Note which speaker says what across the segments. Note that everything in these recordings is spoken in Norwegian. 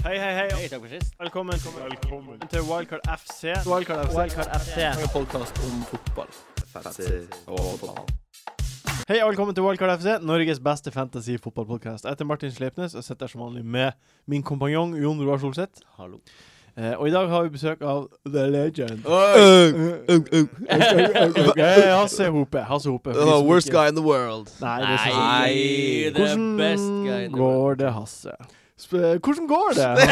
Speaker 1: Hei, hei, hei.
Speaker 2: takk for sist.
Speaker 1: Velkommen, til Wildcard FC.
Speaker 3: Wildcard FC.
Speaker 1: Wildcard FC.
Speaker 3: En podkast om fotball.
Speaker 1: Hei og velkommen til Wildcard FC, Norges beste fantasy-fotballpodkast. Jeg heter Martin Sleipnes og sitter her som vanlig med min kompanjong Jon Roar Solseth.
Speaker 2: Hallo.
Speaker 1: Eh, og i dag har vi besøk av The Legend. Eh, Hasse Hope. Hasse Hope. for de som
Speaker 3: worst
Speaker 1: ikke-
Speaker 3: guy in the world.
Speaker 1: Nei, det er sånn.
Speaker 2: Nei,
Speaker 3: Nei,
Speaker 2: the best guy in
Speaker 1: Hvordan
Speaker 2: the world.
Speaker 1: går det, Hasse? Sp eh, hvordan går det? Hvordan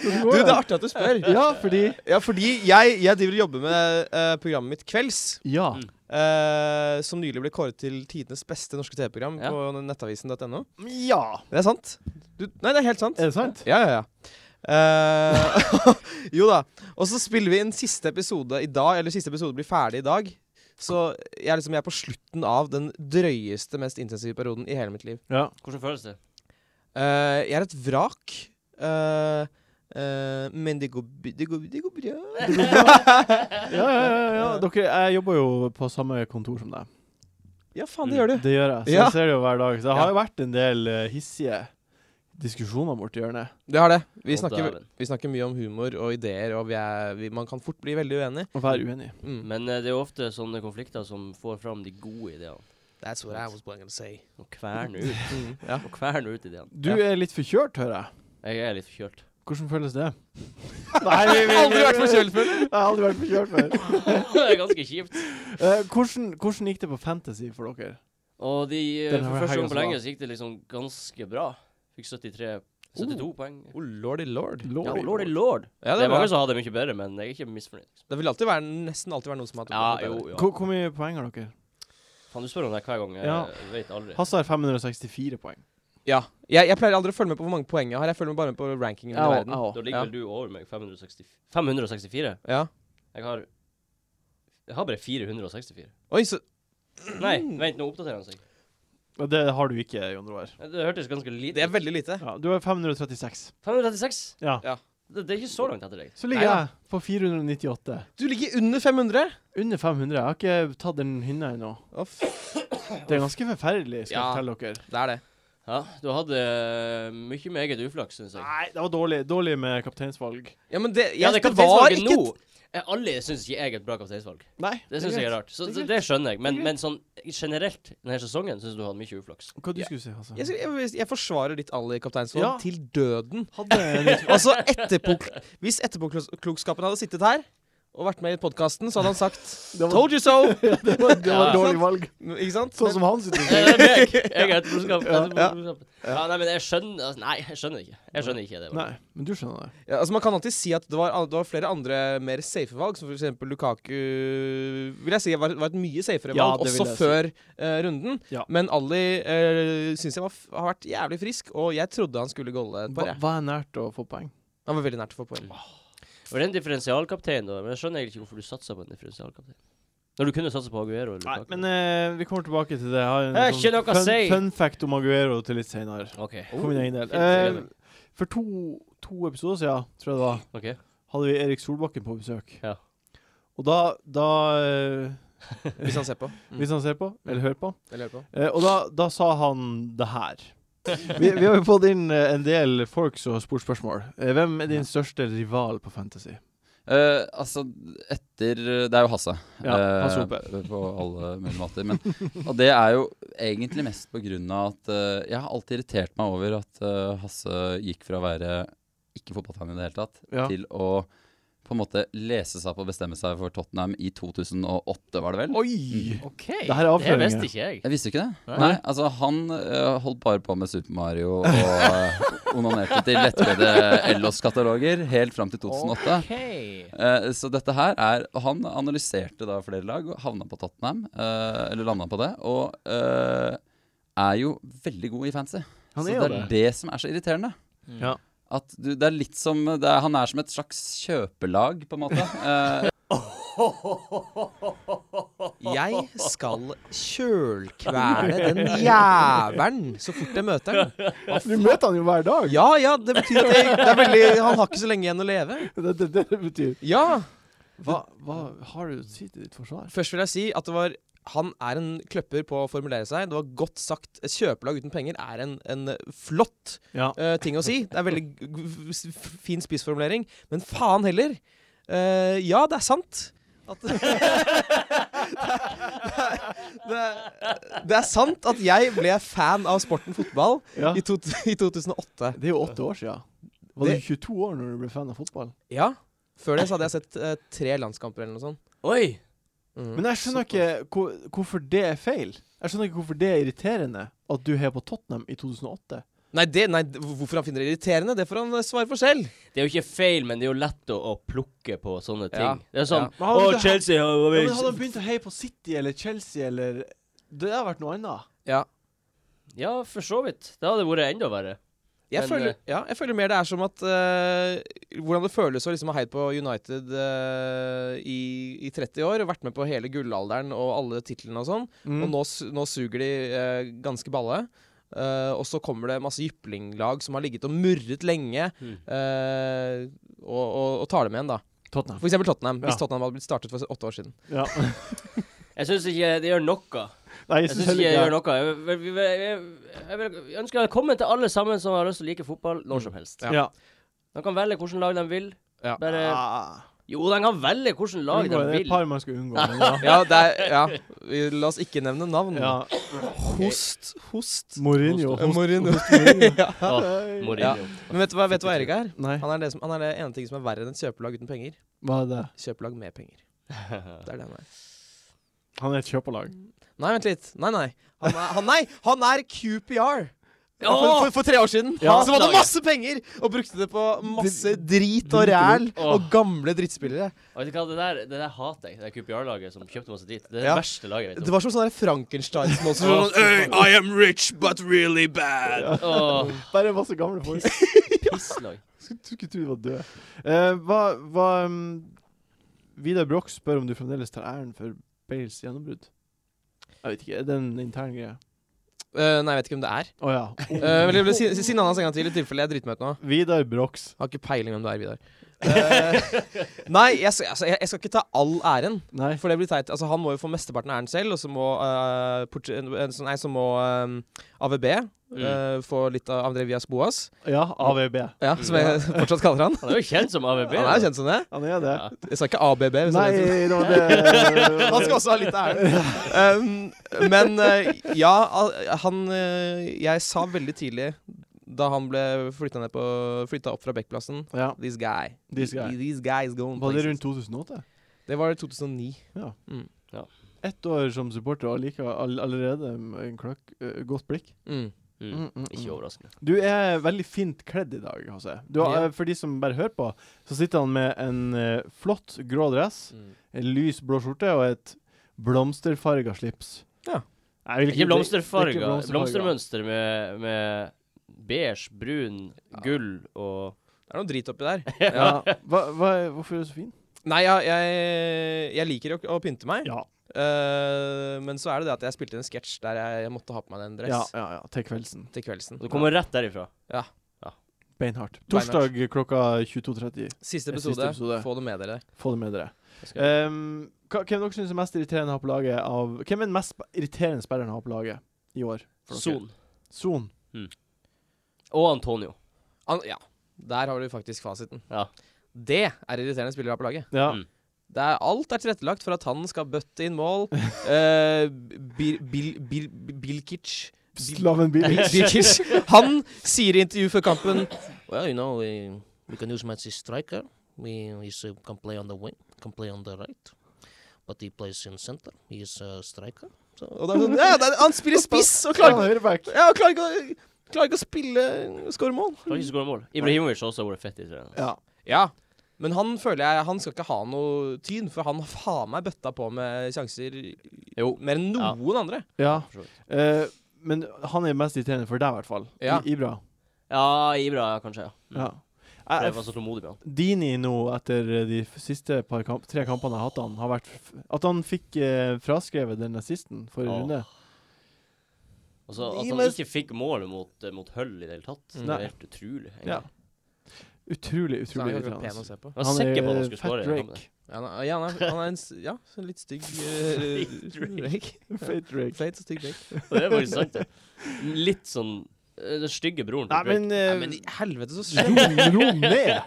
Speaker 3: Du,
Speaker 1: går
Speaker 3: det er artig at du spør.
Speaker 1: Ja, fordi
Speaker 3: Ja, fordi jeg, jeg driver og jobber med eh, programmet mitt Kvelds.
Speaker 1: Ja.
Speaker 2: Mm.
Speaker 3: eh, som nylig ble kåret til tidenes beste norske TV-program
Speaker 2: Ja.
Speaker 3: på nettavisen.no.
Speaker 1: Ja.
Speaker 3: Det er sant. Du, nei, det er helt sant.
Speaker 1: Er det sant?
Speaker 3: Ja, ja, ja. Eh, jo da. Og så spiller vi inn siste episode i dag, eller siste episode blir ferdig i dag. Så jeg er, liksom, jeg er på slutten av den drøyeste, mest intensive perioden i hele mitt liv.
Speaker 1: Ja.
Speaker 2: Hvordan føles det?
Speaker 3: Eh, jeg er et vrak. Eh, eh, men det går, b- det går, det går bra.
Speaker 1: Ja, ja, ja, ja. Dere, jeg jobber jo på samme kontor som deg.
Speaker 3: Ja, faen, det gjør du.
Speaker 1: Det gjør jeg. Så
Speaker 3: Ja.
Speaker 1: jeg ser det jo hver dag. Så det
Speaker 3: Ja.
Speaker 1: har jo vært en del eh, hissige diskusjoner borti hjørnet.
Speaker 3: Det har det. Vi
Speaker 2: Å,
Speaker 3: snakker,
Speaker 2: dæven.
Speaker 3: vi snakker mye om humor og ideer, og vi er, vi, man kan fort bli veldig uenig.
Speaker 1: Å være uenig.
Speaker 3: Mm.
Speaker 2: Men eh, det er jo ofte sånne konflikter som får fram de gode ideene.
Speaker 3: That's what I was going to say.
Speaker 2: Og kverner ut,
Speaker 3: Mm, ja.
Speaker 2: og kverner ut ideene.
Speaker 1: Du
Speaker 3: Ja.
Speaker 1: er litt forkjørt, hører jeg.
Speaker 2: Jeg er litt forkjørt.
Speaker 1: Hvordan føles det?
Speaker 3: Aldri vært forkjølt før.
Speaker 1: Jeg har aldri vært forkjølt før.
Speaker 2: det er ganske kjipt.
Speaker 1: Eh, hvordan, hvordan gikk det på Fantasy for dere?
Speaker 2: Og de, eh,
Speaker 1: Den
Speaker 2: for
Speaker 1: her
Speaker 2: første
Speaker 1: helgen
Speaker 2: gang
Speaker 1: som
Speaker 2: på lenge
Speaker 1: var.
Speaker 2: så gikk det liksom ganske bra. Fikk 73 72 poeng.
Speaker 3: Oh, lordy lord.
Speaker 2: Ja, og lordy lord.
Speaker 3: Ja,
Speaker 2: det er
Speaker 3: bra.
Speaker 2: mange som har det mye bedre, men jeg er ikke misfornøyd. liksom.
Speaker 3: Det vil alltid være, nesten alltid være noen som har
Speaker 2: Ja,
Speaker 3: hatt det
Speaker 2: jo,
Speaker 3: bedre.
Speaker 2: jo.
Speaker 1: Hvor, hvor mye poeng har dere?
Speaker 2: Faen, du spør om det hver gang. eh, Jeg
Speaker 1: Ja.
Speaker 2: vet aldri.
Speaker 1: Hasse har 564 poeng.
Speaker 3: Ja. Jeg, jeg pleier aldri å følge med på hvor mange poeng jeg har. Jeg følger med bare med på rankingen i verden.
Speaker 2: Da ligger vel du over meg 560 564.
Speaker 3: Ja.
Speaker 2: Jeg har Jeg har bare 464.
Speaker 3: Oi, så
Speaker 2: Nei, vent, nå oppdaterer han seg.
Speaker 1: Og Det har du ikke, Jon Roar.
Speaker 2: Det hørtes ganske
Speaker 3: Det
Speaker 2: lite
Speaker 3: er veldig lite.
Speaker 1: Ja, du har 536.
Speaker 2: 536?
Speaker 1: Ja.
Speaker 3: Ja.
Speaker 2: Det, det er ikke så langt etter deg.
Speaker 1: Så ligger
Speaker 3: Neida.
Speaker 1: jeg på 498.
Speaker 3: Du ligger under 500!
Speaker 1: Under 500. Jeg har ikke tatt den hinna ennå.
Speaker 3: Å, f-
Speaker 1: Det er ganske forferdelig, skal
Speaker 3: Ja.
Speaker 1: jeg fortelle dere.
Speaker 3: det er det.
Speaker 2: Ja, du hadde eh, mye meget uflaks, syns jeg.
Speaker 1: Nei, det var dårlig. Dårlig med kapteinsvalg.
Speaker 3: Ja, men det, jeg,
Speaker 2: Ja, det er
Speaker 3: det var
Speaker 2: kapteinsvalget
Speaker 3: ikke
Speaker 2: nå. Eh, Alle syns ikke jeg er et bra kapteinsvalg.
Speaker 1: Nei.
Speaker 2: Det syns jeg er rart. Så
Speaker 1: Det er
Speaker 2: det,
Speaker 1: greit.
Speaker 2: det skjønner jeg. Men,
Speaker 1: Det er greit.
Speaker 2: men sånn generelt denne sesongen syns du hadde mye uflaks.
Speaker 1: Hva du
Speaker 3: Ja.
Speaker 1: skulle si, Hasse?
Speaker 3: jeg, jeg, jeg forsvarer ditt Ali Kapteinsvold
Speaker 1: Ja.
Speaker 3: til døden.
Speaker 1: hadde en litt
Speaker 3: Altså, etterpåk Hvis etterpåklokskapen hadde sittet her og vært med i podkasten, så hadde han sagt
Speaker 1: var-
Speaker 3: Told you so!
Speaker 1: Det var, det var
Speaker 2: Ja.
Speaker 1: et dårlig valg.
Speaker 3: Ikke sant?
Speaker 1: Sånn som han sitter og
Speaker 2: Nei,
Speaker 1: sier.
Speaker 2: det er meg. Jeg er et brorskap.
Speaker 1: Ja,
Speaker 3: ja.
Speaker 2: Ja, nei, men jeg skjønner altså, Nei, jeg skjønner ikke. Jeg skjønner ikke det.
Speaker 1: Nei, men du skjønner det.
Speaker 3: Ja, altså Man kan alltid si at det var, det var flere andre mer safe valg, som f.eks. Lukaku Vil jeg si var, var et mye safere
Speaker 1: Ja,
Speaker 3: valg,
Speaker 1: det vil
Speaker 3: også
Speaker 1: jeg si.
Speaker 3: før eh, runden.
Speaker 1: Ja.
Speaker 3: Men Ali uh, syns jeg var, f- har vært jævlig frisk, og jeg trodde han skulle golle et par.
Speaker 1: Hva,
Speaker 3: jeg.
Speaker 1: hva er nært å få poeng?
Speaker 3: Han var veldig nært å få poeng.
Speaker 2: For den differensialkapteinen, da. Men jeg skjønner egentlig ikke hvorfor du satsa på en differensialkaptein. Når du kunne satsa på Aguero eller
Speaker 1: Nei,
Speaker 2: Lukaku.
Speaker 1: men eh, vi kommer tilbake til det. Jeg har en
Speaker 2: Eh, ikke
Speaker 1: sånn
Speaker 2: noe å
Speaker 1: fun,
Speaker 2: si. Oh,
Speaker 1: fun fact om Aguero til litt senere.
Speaker 2: OK.
Speaker 1: For min egen del.
Speaker 2: fint,
Speaker 1: Eh, for to, to episoder siden, tror jeg det var,
Speaker 2: ok.
Speaker 1: hadde vi Erik Solbakken på besøk.
Speaker 2: Ja.
Speaker 1: Og da, da eh,
Speaker 3: Hvis han ser på. Mm.
Speaker 1: Hvis han ser på, eller hører på.
Speaker 3: Eller hører på.
Speaker 1: Eh, og da, da sa han det her. Vi, vi har jo fått inn eh, en del folk som har spurt spørsmål. Eh, hvem er din største rival på Fantasy?
Speaker 4: Eh, altså, etter Det er jo Hasse.
Speaker 1: Ja,
Speaker 4: eh,
Speaker 1: Hasse Hope.
Speaker 4: på alle mulige måter. Men, og det er jo egentlig mest på grunn av at eh, jeg har alltid irritert meg over at eh, Hasse gikk fra å være ikke fotballfan i det hele tatt,
Speaker 1: Ja.
Speaker 4: til å på en måte lese seg opp og bestemme seg for Tottenham i 2008, var det vel?
Speaker 1: Oi!
Speaker 2: OK.
Speaker 1: Det her er
Speaker 2: Det
Speaker 1: avsløringer.
Speaker 2: visste ikke jeg.
Speaker 4: Jeg visste ikke det.
Speaker 2: Nei.
Speaker 4: Nei, altså Han eh, holdt bare på med Super Mario og eh, onanerte til lettbøyde Ellos-kataloger helt fram til 2008.
Speaker 2: OK.
Speaker 4: Eh, så dette her er Han analyserte da flere lag og havna på Tottenham. eh, eller landa på det. Og eh, er jo veldig god i fancy.
Speaker 1: Han er
Speaker 4: så det
Speaker 1: jo
Speaker 4: er
Speaker 1: det.
Speaker 4: det. som er så irriterende.
Speaker 1: Ja.
Speaker 4: At du, det er litt som det er, Han er som et slags kjøpelag, på en måte. Eh,
Speaker 3: Jeg skal kjølkvele den jævelen så fort jeg møter den.
Speaker 1: Du møter han jo hver dag!
Speaker 3: Ja, ja, det betyr at jeg, det er veldig, han har ikke så lenge igjen å leve.
Speaker 1: Det er det, det det betyr.
Speaker 3: Ja!
Speaker 1: Hva, hva har du å si til ditt forsvar?
Speaker 3: Først vil jeg si at det var han er en kløpper på å formulere seg. Det var godt sagt. Et kjøpelag uten penger er en, en flott
Speaker 1: Ja.
Speaker 3: eh, ting å si. Det er veldig g- g- s- fin spissformulering. Men faen heller. Eh, ja, det er sant. At det, er- det, er- det er sant at jeg ble fan av sporten fotball
Speaker 1: ja.
Speaker 3: i, to, i 2008.
Speaker 1: Det er jo åtte år siden. Var du
Speaker 3: Det-
Speaker 1: 22 år når du ble fan av fotball?
Speaker 3: Ja. Før det så hadde jeg sett eh, tre landskamper eller noe sånt.
Speaker 2: Oi!
Speaker 3: Mm.
Speaker 1: Men jeg skjønner ikke hvor, hvorfor det er feil. Jeg skjønner ikke hvorfor det er irriterende at du heier på Tottenham i 2008.
Speaker 3: Nei, det, nei, d- hvorfor han finner det irriterende, det får han eh, svare for selv.
Speaker 2: Det er jo ikke feil, men det er jo lett å, å plukke på sånne ting.
Speaker 3: Ja,
Speaker 2: Det er sånn
Speaker 3: ja.
Speaker 1: Men
Speaker 2: Å,
Speaker 1: hadde du-
Speaker 2: Chelsea har
Speaker 1: Ja, men hadde han begynt å heie på City eller Chelsea eller Det hadde vært noe annet.
Speaker 3: Ja.
Speaker 2: Ja, for så vidt. Det hadde vært enda verre.
Speaker 3: Jeg,
Speaker 2: Men,
Speaker 3: føler,
Speaker 2: eh,
Speaker 3: ja, jeg føler mer det er som at eh, Hvordan det føles å liksom ha heid på United eh, i, i 30 år og vært med på hele gullalderen og alle titlene og sånn.
Speaker 1: Mm.
Speaker 2: Mm.
Speaker 3: Og nå, su- nå suger de eh, ganske balle. Eh, og så kommer det masse jyplinglag som har ligget og murret lenge,
Speaker 1: Mm.
Speaker 3: eh, og, og, og tar dem igjen, da.
Speaker 1: Tottenham.
Speaker 3: For eksempel Tottenham, hvis
Speaker 1: Ja.
Speaker 3: Tottenham hadde blitt startet for åtte år siden.
Speaker 1: Ja.
Speaker 2: Jeg syns ikke det gjør noe.
Speaker 1: Nei,
Speaker 2: Jeg syns ikke det gjør noe. Jeg, vil- jeg, vil- jeg, vil- jeg, vil- jeg ønsker velkommen til alle sammen som har lyst til å like fotball når som helst.
Speaker 1: Ja.
Speaker 2: De kan velge hvilket lag de vil.
Speaker 3: Mm. Ja.
Speaker 2: Bare
Speaker 1: Ah,
Speaker 2: Jo, de kan velge hvilket lag
Speaker 1: unngå,
Speaker 2: de
Speaker 1: det er et
Speaker 2: vil.
Speaker 1: par man skal unngå. men ja.
Speaker 3: Ja, det er, ja. vi- La oss ikke nevne navn.
Speaker 1: Ja.
Speaker 3: Host. Host.
Speaker 1: Mourinho.
Speaker 3: Eh, Mourinho. ja.
Speaker 2: Åh, Mourinho.
Speaker 3: Men vet du hva, vet du hva Erik er?
Speaker 1: Nei,
Speaker 3: Han er, det som, han er det ene ting som er verre enn et kjøpelag uten penger.
Speaker 1: hva er det?
Speaker 3: Kjøpelag med penger. Det er det han er.
Speaker 1: Han er et kjøpelag.
Speaker 3: Nei, vent litt. Nei, nei. Han er, han, nei, han er QPR.
Speaker 2: Ja!
Speaker 3: For, for, for tre år siden.
Speaker 1: Ja.
Speaker 3: Som hadde masse penger og brukte det på masse drit
Speaker 1: drit
Speaker 3: og
Speaker 1: og
Speaker 3: ræl
Speaker 2: Åh.
Speaker 3: og gamle drittspillere.
Speaker 2: Og vet du hva, det der, det der hater jeg. Det der QPR-laget som kjøpte masse dit. Det er det
Speaker 3: Ja.
Speaker 2: verste laget jeg vet
Speaker 3: Det
Speaker 2: om.
Speaker 3: var som sånn der Frankenstein-monster.
Speaker 2: Åh,
Speaker 3: sånn, «Hey, I am rich, but really bad.
Speaker 2: Åh,
Speaker 1: Bare masse gamle folk.
Speaker 2: pisslag.
Speaker 1: Skulle skulle tro du var død. Eh, hva hva um, Vidar Broch spør om du fremdeles tar æren for Bales gjennombrudd. Jeg vet ikke. Er det en intern greie?
Speaker 3: Eh, nei, jeg vet ikke hvem det er.
Speaker 1: Å ja.
Speaker 3: Eh, men jeg vil si, si navnet hans en gang til, i tilfelle jeg driter meg ut nå.
Speaker 1: Vidar Brochs.
Speaker 3: Har ikke peiling hvem du er, Vidar. Eh, nei, jeg, skal- altså, jeg, jeg skal ikke ta all æren.
Speaker 1: Nei.
Speaker 3: For det blir teit. Altså, han må jo få mesteparten av æren selv, og så må, eh, Portu- eh, så- nei, så må eh, AVB
Speaker 1: Mm.
Speaker 3: eh, få litt av André Vias Boas,
Speaker 1: Ja, AVB.
Speaker 3: ja, som jeg fortsatt kaller han.
Speaker 2: Han er jo kjent som AVB.
Speaker 3: Han er jo kjent som det.
Speaker 1: Han er det.
Speaker 2: Ja.
Speaker 3: Jeg sa ikke ABB. Hvis
Speaker 1: Nei,
Speaker 3: jeg mente det.
Speaker 1: det var det
Speaker 3: han skal også ha litt av æren. Um, men eh, ja, al- han eh, Jeg sa veldig tidlig, da han ble flytta, ned på, flytta opp fra Bekkplassen
Speaker 1: Ja.
Speaker 3: This guy.
Speaker 1: This guy.
Speaker 3: These guys going
Speaker 1: Var det
Speaker 3: places.
Speaker 1: rundt 2008?
Speaker 3: Det var i 2009.
Speaker 1: Ett år som supporter og like all, allerede med en kløkk, eh, godt blikk.
Speaker 3: Mm.
Speaker 2: Mm.
Speaker 1: Mm, mm,
Speaker 2: Ikke
Speaker 1: mm.
Speaker 2: overraskende.
Speaker 1: Du er veldig fint kledd i dag, Hasse. Du har,
Speaker 3: Ja.
Speaker 1: eh, For de som bare hører på, så sitter han med en eh, flott grå dress, en lys blå skjorte og et blomsterfarga slips.
Speaker 3: Ja.
Speaker 1: Jeg vil
Speaker 2: Ikke
Speaker 1: ikke
Speaker 2: blomsterfarga.
Speaker 1: blomsterfarga.
Speaker 2: Blomstermønster med, med beige, brun, gull og
Speaker 3: Det er noe drit oppi der.
Speaker 1: Ja. Hva, hva, hvorfor er du så fin?
Speaker 3: Nei, jeg, jeg, jeg liker å, å pynte meg.
Speaker 1: Ja,
Speaker 3: Eh, men så er det det at jeg spilte inn en sketsj der jeg, jeg måtte ha på meg en dress
Speaker 1: ja, ja, ja. Til kveldsen.
Speaker 3: til kveldsen.
Speaker 2: Du kommer rett derifra.
Speaker 1: Beinhardt.
Speaker 3: Beinhardt.
Speaker 1: Torsdag klokka 22.30.
Speaker 3: Siste
Speaker 1: Siste
Speaker 3: episode.
Speaker 1: episode.
Speaker 3: Få det med dere.
Speaker 1: Få det med dere.
Speaker 2: Jeg skal-
Speaker 1: Um, hva, hvem dere synes er mest irriterende å ha på laget av Hvem er den mest sp- irriterende spilleren å ha på laget i år? for dere?
Speaker 2: Son.
Speaker 1: Son.
Speaker 2: Og Antonio.
Speaker 3: An ja, der har du faktisk fasiten.
Speaker 2: Ja.
Speaker 3: Det er irriterende spillere på laget.
Speaker 1: Ja.
Speaker 2: Mm.
Speaker 3: Det er, alt er tilrettelagt for at han skal bøtte inn mål. Eh, Bil- Bil- Bil- Bilkic
Speaker 1: Slaven Bilic.
Speaker 3: Bilkic. Han sier i intervju før kampen Well, you know, we,
Speaker 5: We can use him as a striker. We he's, uh, can play on the wing, can play on the right, but he plays in center. He is a striker.
Speaker 3: og det er sånn, ja, det er, Han spiller spiss og klarer,
Speaker 1: høyreback.
Speaker 3: ja, og klarer, ikke, å- klarer ikke å spille skåre mål.
Speaker 2: Kan ikke skåre mål. Ibrahimovic har også vært fett i trening.
Speaker 1: Ja.
Speaker 3: Ja, men han føler jeg Han skal ikke ha noe tyn, for han har faen meg bøtta på med sjanser
Speaker 2: Jo.
Speaker 3: mer enn
Speaker 2: Ja.
Speaker 3: noen andre.
Speaker 1: ja.
Speaker 2: For så vidt.
Speaker 1: Eh, men han er mest irriterende for deg, i hvert fall.
Speaker 3: Ja.
Speaker 1: I, Ibra.
Speaker 2: Ja, Ibra ja, kanskje, ja. Mm.
Speaker 1: Ja.
Speaker 2: For
Speaker 1: Jeg-
Speaker 2: Jeg var så tålmodig med han.
Speaker 1: Dini nå, etter eh, de f- siste par kamp, tre kampene jeg har hatt han, har vært f At han fikk eh, fraskrevet den assisten forrige
Speaker 2: Åh.
Speaker 1: runde.
Speaker 2: Altså,
Speaker 1: Gi
Speaker 2: at han
Speaker 1: meg-
Speaker 2: ikke fikk mål mot, eh, mot Hull i det hele tatt, det
Speaker 1: Nei.
Speaker 2: er helt utrolig. egentlig.
Speaker 1: Ja. Utrolig,
Speaker 3: Så han
Speaker 1: utrolig
Speaker 3: er jo
Speaker 1: irriterende.
Speaker 3: pen å se på.
Speaker 2: Jeg var sikker på at han
Speaker 1: eh,
Speaker 2: skulle
Speaker 1: Fat
Speaker 2: score. den kampen.
Speaker 1: Drake.
Speaker 3: Ja, han er, ja, han er, han er en s- ja, så litt stygg eh, Drake.
Speaker 1: Fat Drake.
Speaker 3: Feit og stygg Drake.
Speaker 2: Det er faktisk sant, det. Litt sånn eh, Den stygge broren
Speaker 1: Nei,
Speaker 2: til Drake.
Speaker 1: men,
Speaker 3: Ja,
Speaker 1: eh,
Speaker 3: men i helvete, så skjønner
Speaker 1: ro, ro ned!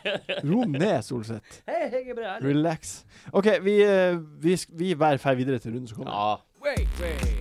Speaker 1: Ro ned, Solseth.
Speaker 2: Hei, hei, jeg er bra, ærlig.
Speaker 1: Relax. OK, vi, eh, vi, sk- vi hver fer videre til runden som kommer.
Speaker 2: Ja.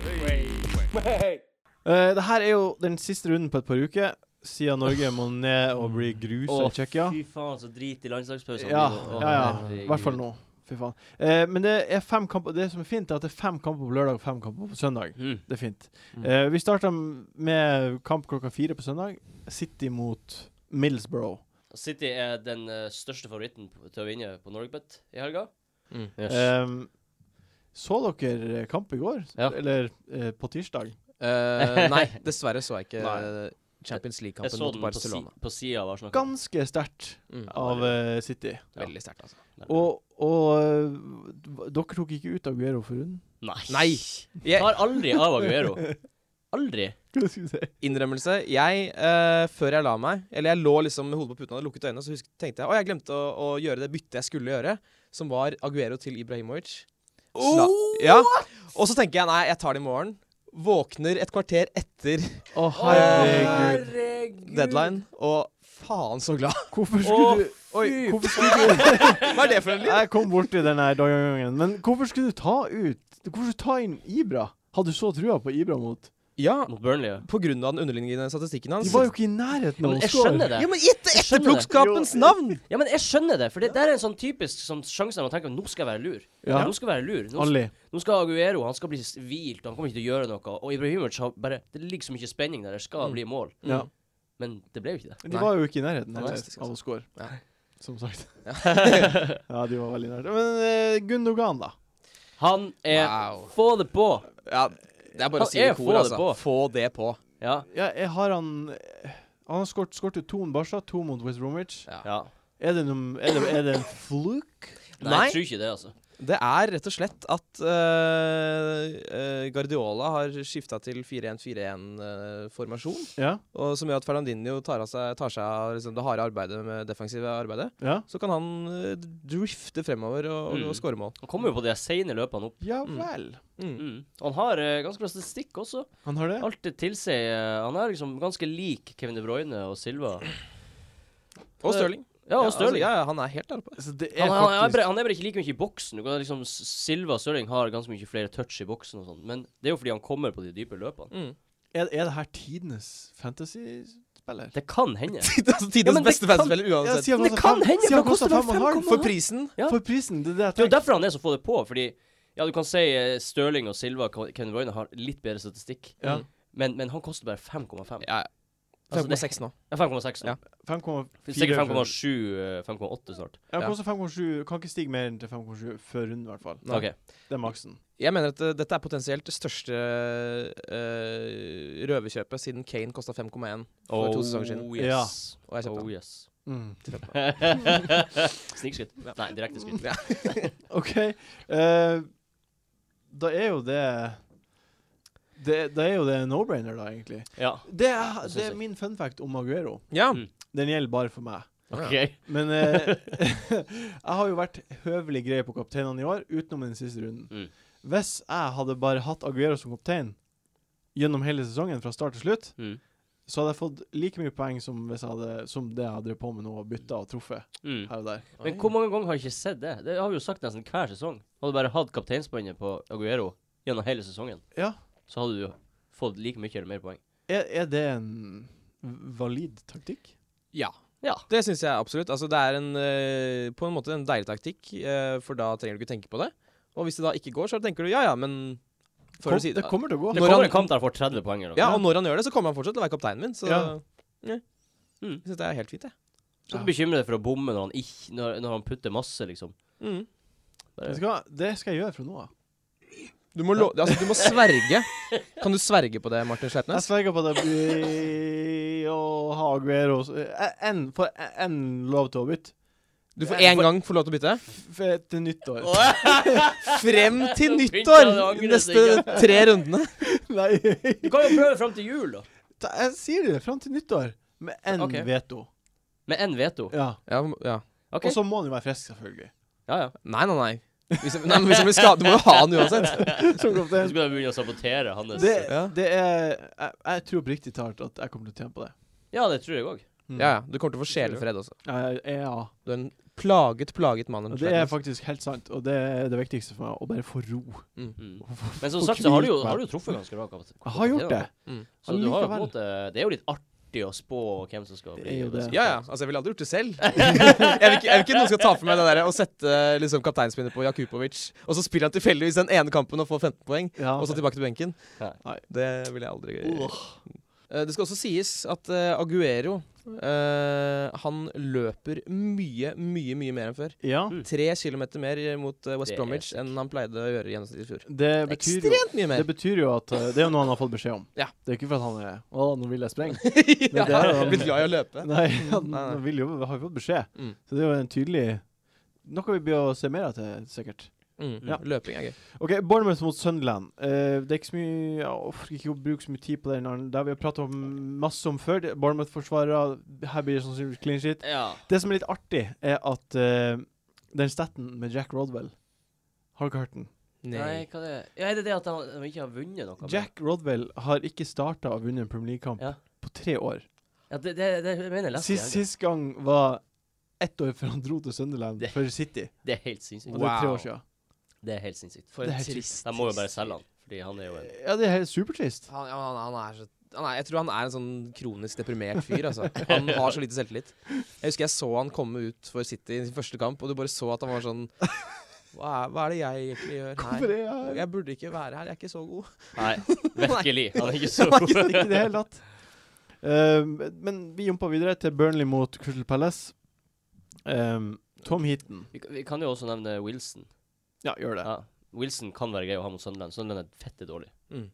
Speaker 1: Eh, det her er jo den siste runden på et par uker, siden Norge må ned og bli grusa
Speaker 2: Å,
Speaker 1: i Tsjekkia.
Speaker 2: Fy faen, så drit i landslagspausene.
Speaker 1: Ja,
Speaker 2: blir det. Å,
Speaker 1: ja, ja.
Speaker 2: herregud.
Speaker 1: I hvert fall nå. Fy faen. Eh, men det er fem kamper Det som er fint, er at det er fem kamper på lørdag og fem kamper på søndag.
Speaker 2: Mm.
Speaker 1: Det er fint.
Speaker 3: Mm.
Speaker 1: Eh, vi starter med kamp klokka fire på søndag. City mot Millsborough.
Speaker 2: City er den eh, største favoritten på, til å vinne på Norgebet i helga.
Speaker 3: Mm.
Speaker 1: Eh, så dere kamp i går?
Speaker 2: Ja.
Speaker 1: Eller eh, på tirsdag?
Speaker 3: Eh, nei, dessverre så jeg ikke
Speaker 2: Nei.
Speaker 3: eh, Champions
Speaker 2: jeg
Speaker 3: League-kampen
Speaker 2: så
Speaker 3: mot
Speaker 2: den på, si,
Speaker 3: Barcelona.
Speaker 2: på sida av Arsenal.
Speaker 1: Ganske sterkt
Speaker 3: Mm.
Speaker 1: av eh, City.
Speaker 2: Ja.
Speaker 3: Veldig sterkt, altså.
Speaker 1: Og, og øh, d- dere tok ikke ut Aguero for runden?
Speaker 2: Nei.
Speaker 3: Nei!
Speaker 2: Jeg
Speaker 3: Jeg,
Speaker 2: tar aldri av Aguero. Aldri.
Speaker 1: Hva skal jeg si?
Speaker 3: innrømmelse. Jeg, eh, før jeg la meg, eller jeg lå liksom med hodet på puten og hadde lukket øynene, så husk, tenkte jeg å, jeg glemte å, å gjøre det byttet jeg skulle gjøre, som var Aguero til Ibrahimovic. Sla ja. Og så tenker jeg nei, jeg tar det i morgen. Våkner et kvarter etter
Speaker 1: Å, herregud.
Speaker 3: herregud. deadline, og faen så glad.
Speaker 1: Hvorfor skulle du Oi, hvorfor skulle du
Speaker 3: Hva er det for en lyd?
Speaker 1: Jeg kom borti den her gangen. Men hvorfor skulle du ta ut Hvorfor skulle du ta inn Ibra? Hadde du så trua på Ibra mot
Speaker 3: Ja,
Speaker 2: Mot Burnley, ja.
Speaker 3: på grunn av den underliggende statistikken hans.
Speaker 1: De var jo ikke i nærheten av
Speaker 2: Men
Speaker 1: å
Speaker 2: jeg
Speaker 1: score.
Speaker 2: skjønner det.
Speaker 3: Ja, men etter
Speaker 2: skjønner det.
Speaker 3: etterpåklokskapens navn!
Speaker 2: Ja, men jeg skjønner det, for det der er en sånn typisk sånn sjanse man tenker nå skal jeg være lur.
Speaker 1: Ja.
Speaker 2: Nå skal jeg være lur. Nå,
Speaker 1: Ali.
Speaker 2: nå skal Aguero han skal bli s- hvilt, og han kommer ikke til å gjøre noe. Og Ibrahimovic har bare Det ligger så mye spenning der. Det
Speaker 3: Mm.
Speaker 2: skal bli mål.
Speaker 1: Ja.
Speaker 2: Men det ble jo ikke det.
Speaker 1: De
Speaker 3: Nei.
Speaker 1: var jo ikke i nærheten heller
Speaker 3: Fantastisk,
Speaker 1: av å score.
Speaker 3: Ja.
Speaker 1: Som sagt. ja, de var veldig nære. Men eh, Gundogan, da?
Speaker 2: Han er
Speaker 3: Wow.
Speaker 2: Få det på!
Speaker 3: Ja, det er bare å
Speaker 2: Han
Speaker 3: si det
Speaker 2: er
Speaker 3: i
Speaker 2: få
Speaker 3: kor,
Speaker 2: det
Speaker 3: altså.
Speaker 2: på.
Speaker 3: Få det på.
Speaker 2: Ja.
Speaker 1: Ja, jeg har han Han har skåret skåret jo to mot Barca, to mot West Bromwich.
Speaker 3: Ja.
Speaker 2: ja.
Speaker 1: Er det, noen, er det, er det en fluke?
Speaker 2: Nei,
Speaker 3: Nei.
Speaker 2: jeg tror ikke det, altså.
Speaker 3: Det er rett og slett at eh, eh, Guardiola har skifta til 4-1-4-1-formasjon.
Speaker 1: Ja.
Speaker 3: eh, og som gjør at Fernandinho tar, av seg, tar seg av liksom, det harde arbeidet med defensive arbeidet.
Speaker 1: Ja.
Speaker 3: Så kan han eh, drifte fremover og, og,
Speaker 2: Mm.
Speaker 3: og skåre mål.
Speaker 2: Han kommer jo på de sene løpene opp.
Speaker 1: Ja
Speaker 3: Mm.
Speaker 1: vel.
Speaker 3: Mm.
Speaker 2: Mm. Han har eh, ganske bra statistikk også.
Speaker 1: Han har det?
Speaker 2: Alt det tilsier eh, Han er liksom ganske lik Kevin De Bruyne og Silva.
Speaker 3: Og Stirling.
Speaker 2: Ja, og Stirling.
Speaker 3: Altså, ja, ja, han er helt der oppe.
Speaker 1: Så det er
Speaker 2: Han, han, er
Speaker 1: faktisk
Speaker 2: bare, han er bare ikke like mye i boksen. Du kan liksom, S- Silva og Stirling har ganske mye flere touch i boksen, og sånn men det er jo fordi han kommer på de dype løpene.
Speaker 3: Mm.
Speaker 1: Er, er det her tidenes fantasy-spiller?
Speaker 2: Det kan hende.
Speaker 3: Tidens
Speaker 2: Ja, men det
Speaker 3: beste
Speaker 2: kan-
Speaker 3: fanspiller uansett.
Speaker 1: si han
Speaker 2: det
Speaker 1: koster
Speaker 2: kan
Speaker 1: fem-
Speaker 2: hende,
Speaker 1: si han
Speaker 2: for det
Speaker 1: koster
Speaker 2: koster bare
Speaker 1: fem og en halv. For,
Speaker 2: 5,5.
Speaker 3: For prisen
Speaker 2: Ja.
Speaker 1: for prisen, det er det jeg
Speaker 2: Det er jo
Speaker 1: tenker.
Speaker 2: derfor han er så få det på, fordi ja, du kan si eh, Stirling og Silva og Kevin De Bruyne har litt bedre statistikk,
Speaker 1: Ja.
Speaker 2: men, men han koster bare 5,5.
Speaker 3: ja, ja.
Speaker 2: Altså, det-
Speaker 3: 5,6 nå.
Speaker 2: Ja, 5,6. nå.
Speaker 3: Ja.
Speaker 1: 5,4
Speaker 2: Sikkert
Speaker 1: for-
Speaker 2: 5,7, eh, 5,8 snart.
Speaker 1: Ja,
Speaker 3: Ja.
Speaker 1: koster 5,7. Kan ikke stige mer enn til 5,7 før runden, i hvert fall.
Speaker 3: Nei.
Speaker 2: Ok.
Speaker 1: Det er maksen.
Speaker 3: Jeg mener at eh, dette er potensielt det største eh, røverkjøpet siden Kane kosta 5,1 for to sesonger siden.
Speaker 2: Oh,
Speaker 1: Ja.
Speaker 2: yes.
Speaker 3: Og jeg kjøpte
Speaker 2: Oh
Speaker 3: han.
Speaker 2: yes.
Speaker 1: Mm.
Speaker 3: Oh.
Speaker 2: Snikskritt. Nei, direkte skritt.
Speaker 1: OK. eh, da er jo det det, da er jo det en no-brainer, da, egentlig.
Speaker 2: Ja.
Speaker 1: Det er,
Speaker 2: synes
Speaker 1: det er
Speaker 2: jeg.
Speaker 1: min fun fact om Aguero.
Speaker 3: Ja.
Speaker 2: Mm.
Speaker 1: Den gjelder bare for meg.
Speaker 2: OK.
Speaker 1: Men eh, jeg har jo vært høvelig grei på kapteinene i år, utenom den siste runden.
Speaker 2: Mm.
Speaker 1: Hvis jeg hadde bare hatt Aguero som kaptein gjennom hele sesongen, fra start til slutt,
Speaker 2: Mm.
Speaker 1: så hadde jeg fått like mye poeng som, hvis jeg hadde, som det jeg hadde drevet på med nå, og bytta og truffet
Speaker 2: Mm.
Speaker 1: her og der.
Speaker 2: Men hvor mange ganger har jeg ikke sett det? Det har vi jo sagt nesten hver sesong. Hadde du bare hatt kapteinsbåndet på Aguero gjennom hele sesongen,
Speaker 1: Ja.
Speaker 2: så hadde du jo fått like mye eller mer poeng.
Speaker 1: Er, er det en valid taktikk?
Speaker 3: ja.
Speaker 2: Ja.
Speaker 3: Det syns jeg absolutt. Altså, det er en, eh, på en måte en deilig taktikk, eh, for da trenger du ikke tenke på det. Og hvis det da ikke går, så tenker du ja ja, men før
Speaker 1: Kom,
Speaker 3: du sier
Speaker 1: det kommer til å gå.
Speaker 2: Det
Speaker 3: Når
Speaker 2: kommer
Speaker 3: han-
Speaker 2: en kamp der han får 30 poeng eller noe.
Speaker 3: Ja, og når han gjør det, så kommer han fortsatt til å være kapteinen min. Så
Speaker 1: Ja.
Speaker 3: ja.
Speaker 2: Mm.
Speaker 3: jeg syns det er helt fint, jeg.
Speaker 2: Så ikke bekymre deg for å bomme når han, ikke, når, når han putter masse, liksom.
Speaker 3: Mm.
Speaker 1: Vet du hva? Det skal jeg gjøre fra nå av.
Speaker 3: Du, må lo altså, du må sverge. Kan du sverge på det, Martin
Speaker 1: Jeg
Speaker 3: Sleipnes?
Speaker 1: sverger på at det blir å ha Aguero eh, en, For én lov til å bytte.
Speaker 3: Du får én gang få lov til å bytte.
Speaker 1: F- f- Til nyttår.
Speaker 3: Frem
Speaker 2: Nå
Speaker 3: til
Speaker 2: begynte
Speaker 3: nyttår!
Speaker 2: han å angre
Speaker 3: Neste
Speaker 2: seg,
Speaker 3: tre rundene.
Speaker 1: Nei.
Speaker 2: Du kan jo prøve fram til jul, da.
Speaker 1: Ta, jeg sier det fram til nyttår, med én
Speaker 2: Ok.
Speaker 1: veto.
Speaker 2: Med én veto.
Speaker 1: Ja.
Speaker 3: Ja, m- ja.
Speaker 2: OK.
Speaker 1: Og så må han jo være frisk, selvfølgelig.
Speaker 2: Ja, ja.
Speaker 3: Nei, nei, nei. Hvis, nei men hvis han blir skadet, du må jo ha han uansett.
Speaker 1: Som
Speaker 2: Så
Speaker 1: kaptein.
Speaker 2: skal jeg begynne å sabotere hans
Speaker 1: Det,
Speaker 3: Ja.
Speaker 1: det er jeg, jeg tror oppriktig talt at jeg kommer til å tjene på det.
Speaker 2: Ja, det tror jeg òg.
Speaker 1: Mm.
Speaker 3: Ja, ja. Du kommer til å få sjelefred også.
Speaker 1: Jeg- jeg- ja.
Speaker 3: Du er en plaget, plaget mann.
Speaker 1: Og det er faktisk helt sant, og det er det viktigste for meg, å bare få ro.
Speaker 2: Mm.
Speaker 1: Jeg
Speaker 2: Men som
Speaker 1: Få
Speaker 2: sagt så har du jo,
Speaker 1: kvilt meg.
Speaker 2: har du jo truffet ganske bra. kapat-
Speaker 1: har gjort det.
Speaker 3: Mm.
Speaker 2: Så du har jo på en
Speaker 1: Allikevel.
Speaker 2: måte Det er jo litt artig å spå hvem som skal
Speaker 1: Det
Speaker 2: bli
Speaker 1: er jo
Speaker 2: det.
Speaker 1: det.
Speaker 3: Ja, ja. Altså, jeg ville aldri gjort det selv. jeg, vil ikke, jeg vil ikke noen skal ta for meg det der å sette liksom, kapteinspinnet på Jakubovic, og så spiller han tilfeldigvis den ene kampen og får 15 poeng,
Speaker 1: Ja.
Speaker 3: og så tilbake til benken.
Speaker 1: Nei.
Speaker 3: Det ville jeg aldri Eh, Det skal også sies at eh, Aguero eh, han løper mye, mye mye mer enn før.
Speaker 1: ja.
Speaker 2: Mm.
Speaker 3: Tre kilometer mer mot eh, West
Speaker 2: Det er
Speaker 3: Bromwich
Speaker 2: sick.
Speaker 3: enn han pleide å gjøre i gjennomsnitt i fjor.
Speaker 1: Det betyr jo
Speaker 3: Ekstremt mye
Speaker 1: det
Speaker 3: mer!
Speaker 1: betyr jo at eh, Det er jo noe han har fått beskjed om.
Speaker 3: Ja.
Speaker 1: Det er ikke for at han er Å, nå vil jeg sprenge.
Speaker 3: ja,
Speaker 1: Men det er jo-
Speaker 3: blitt glad i å løpe.
Speaker 1: Nei, han,
Speaker 3: Nei, nei.
Speaker 1: han vil jo, har jo fått beskjed.
Speaker 3: Mm.
Speaker 1: Så det er jo en tydelig Noe vi bør se mer av til, sikkert.
Speaker 3: Mm,
Speaker 1: Ja.
Speaker 3: Løping er gøy.
Speaker 1: OK, Bournemouth mot Sunderland. Eh, det er ikke så mye Jeg orker ikke å bruke så mye tid på den. andre. Det har vi pratet om masse om før. Det- Bournemouth-forsvarere. Her blir det sannsynligvis clean shit.
Speaker 2: Ja.
Speaker 1: Det som er litt artig, er at eh, den staten med Jack Rodwell Har dere hørt den?
Speaker 2: Nei, hva det er ja, Er det det at de, de ikke har vunnet noe? med-
Speaker 1: Jack Rodwell har ikke starta og vunnet en Premier League-kamp
Speaker 2: Ja.
Speaker 1: på tre år.
Speaker 2: Ja, det, det, det jeg mener jeg leste. i
Speaker 1: Sist,
Speaker 2: helgen.
Speaker 1: sist gang var ett år før han dro til Sunderland
Speaker 2: Det-
Speaker 1: for City.
Speaker 2: Det er helt sinnssykt.
Speaker 1: Og det er tre
Speaker 3: Wow.
Speaker 1: år siden.
Speaker 2: Det er helt sinnssykt.
Speaker 3: For
Speaker 1: Det
Speaker 3: en
Speaker 1: er helt
Speaker 3: trist
Speaker 2: De må jo bare selge han, fordi han er jo en
Speaker 1: Ja, det er helt supertrist.
Speaker 3: Han, ja, han, han er så han er, jeg tror han er en sånn kronisk deprimert fyr. altså. Han har så lite selvtillit. Jeg husker jeg så han komme ut for City i sin første kamp, og du bare så at han var sånn Hva er, hva er det jeg egentlig gjør
Speaker 1: Hvorfor
Speaker 3: her?
Speaker 1: er jeg her?
Speaker 3: Jeg burde ikke være her, jeg er ikke så god.
Speaker 2: Nei, virkelig. Han er ikke så
Speaker 1: Nei, det er ikke det hele tatt. Um, men vi jumper videre til Burnley mot Crystal Palace. Um, Tom Heaton.
Speaker 2: Vi, vi kan jo også nevne Wilson.
Speaker 1: Ja, gjør det.
Speaker 2: Ja. Wilson kan være grei å ha mot Sunderland. Sunderland er fette dårlig.
Speaker 3: Mm.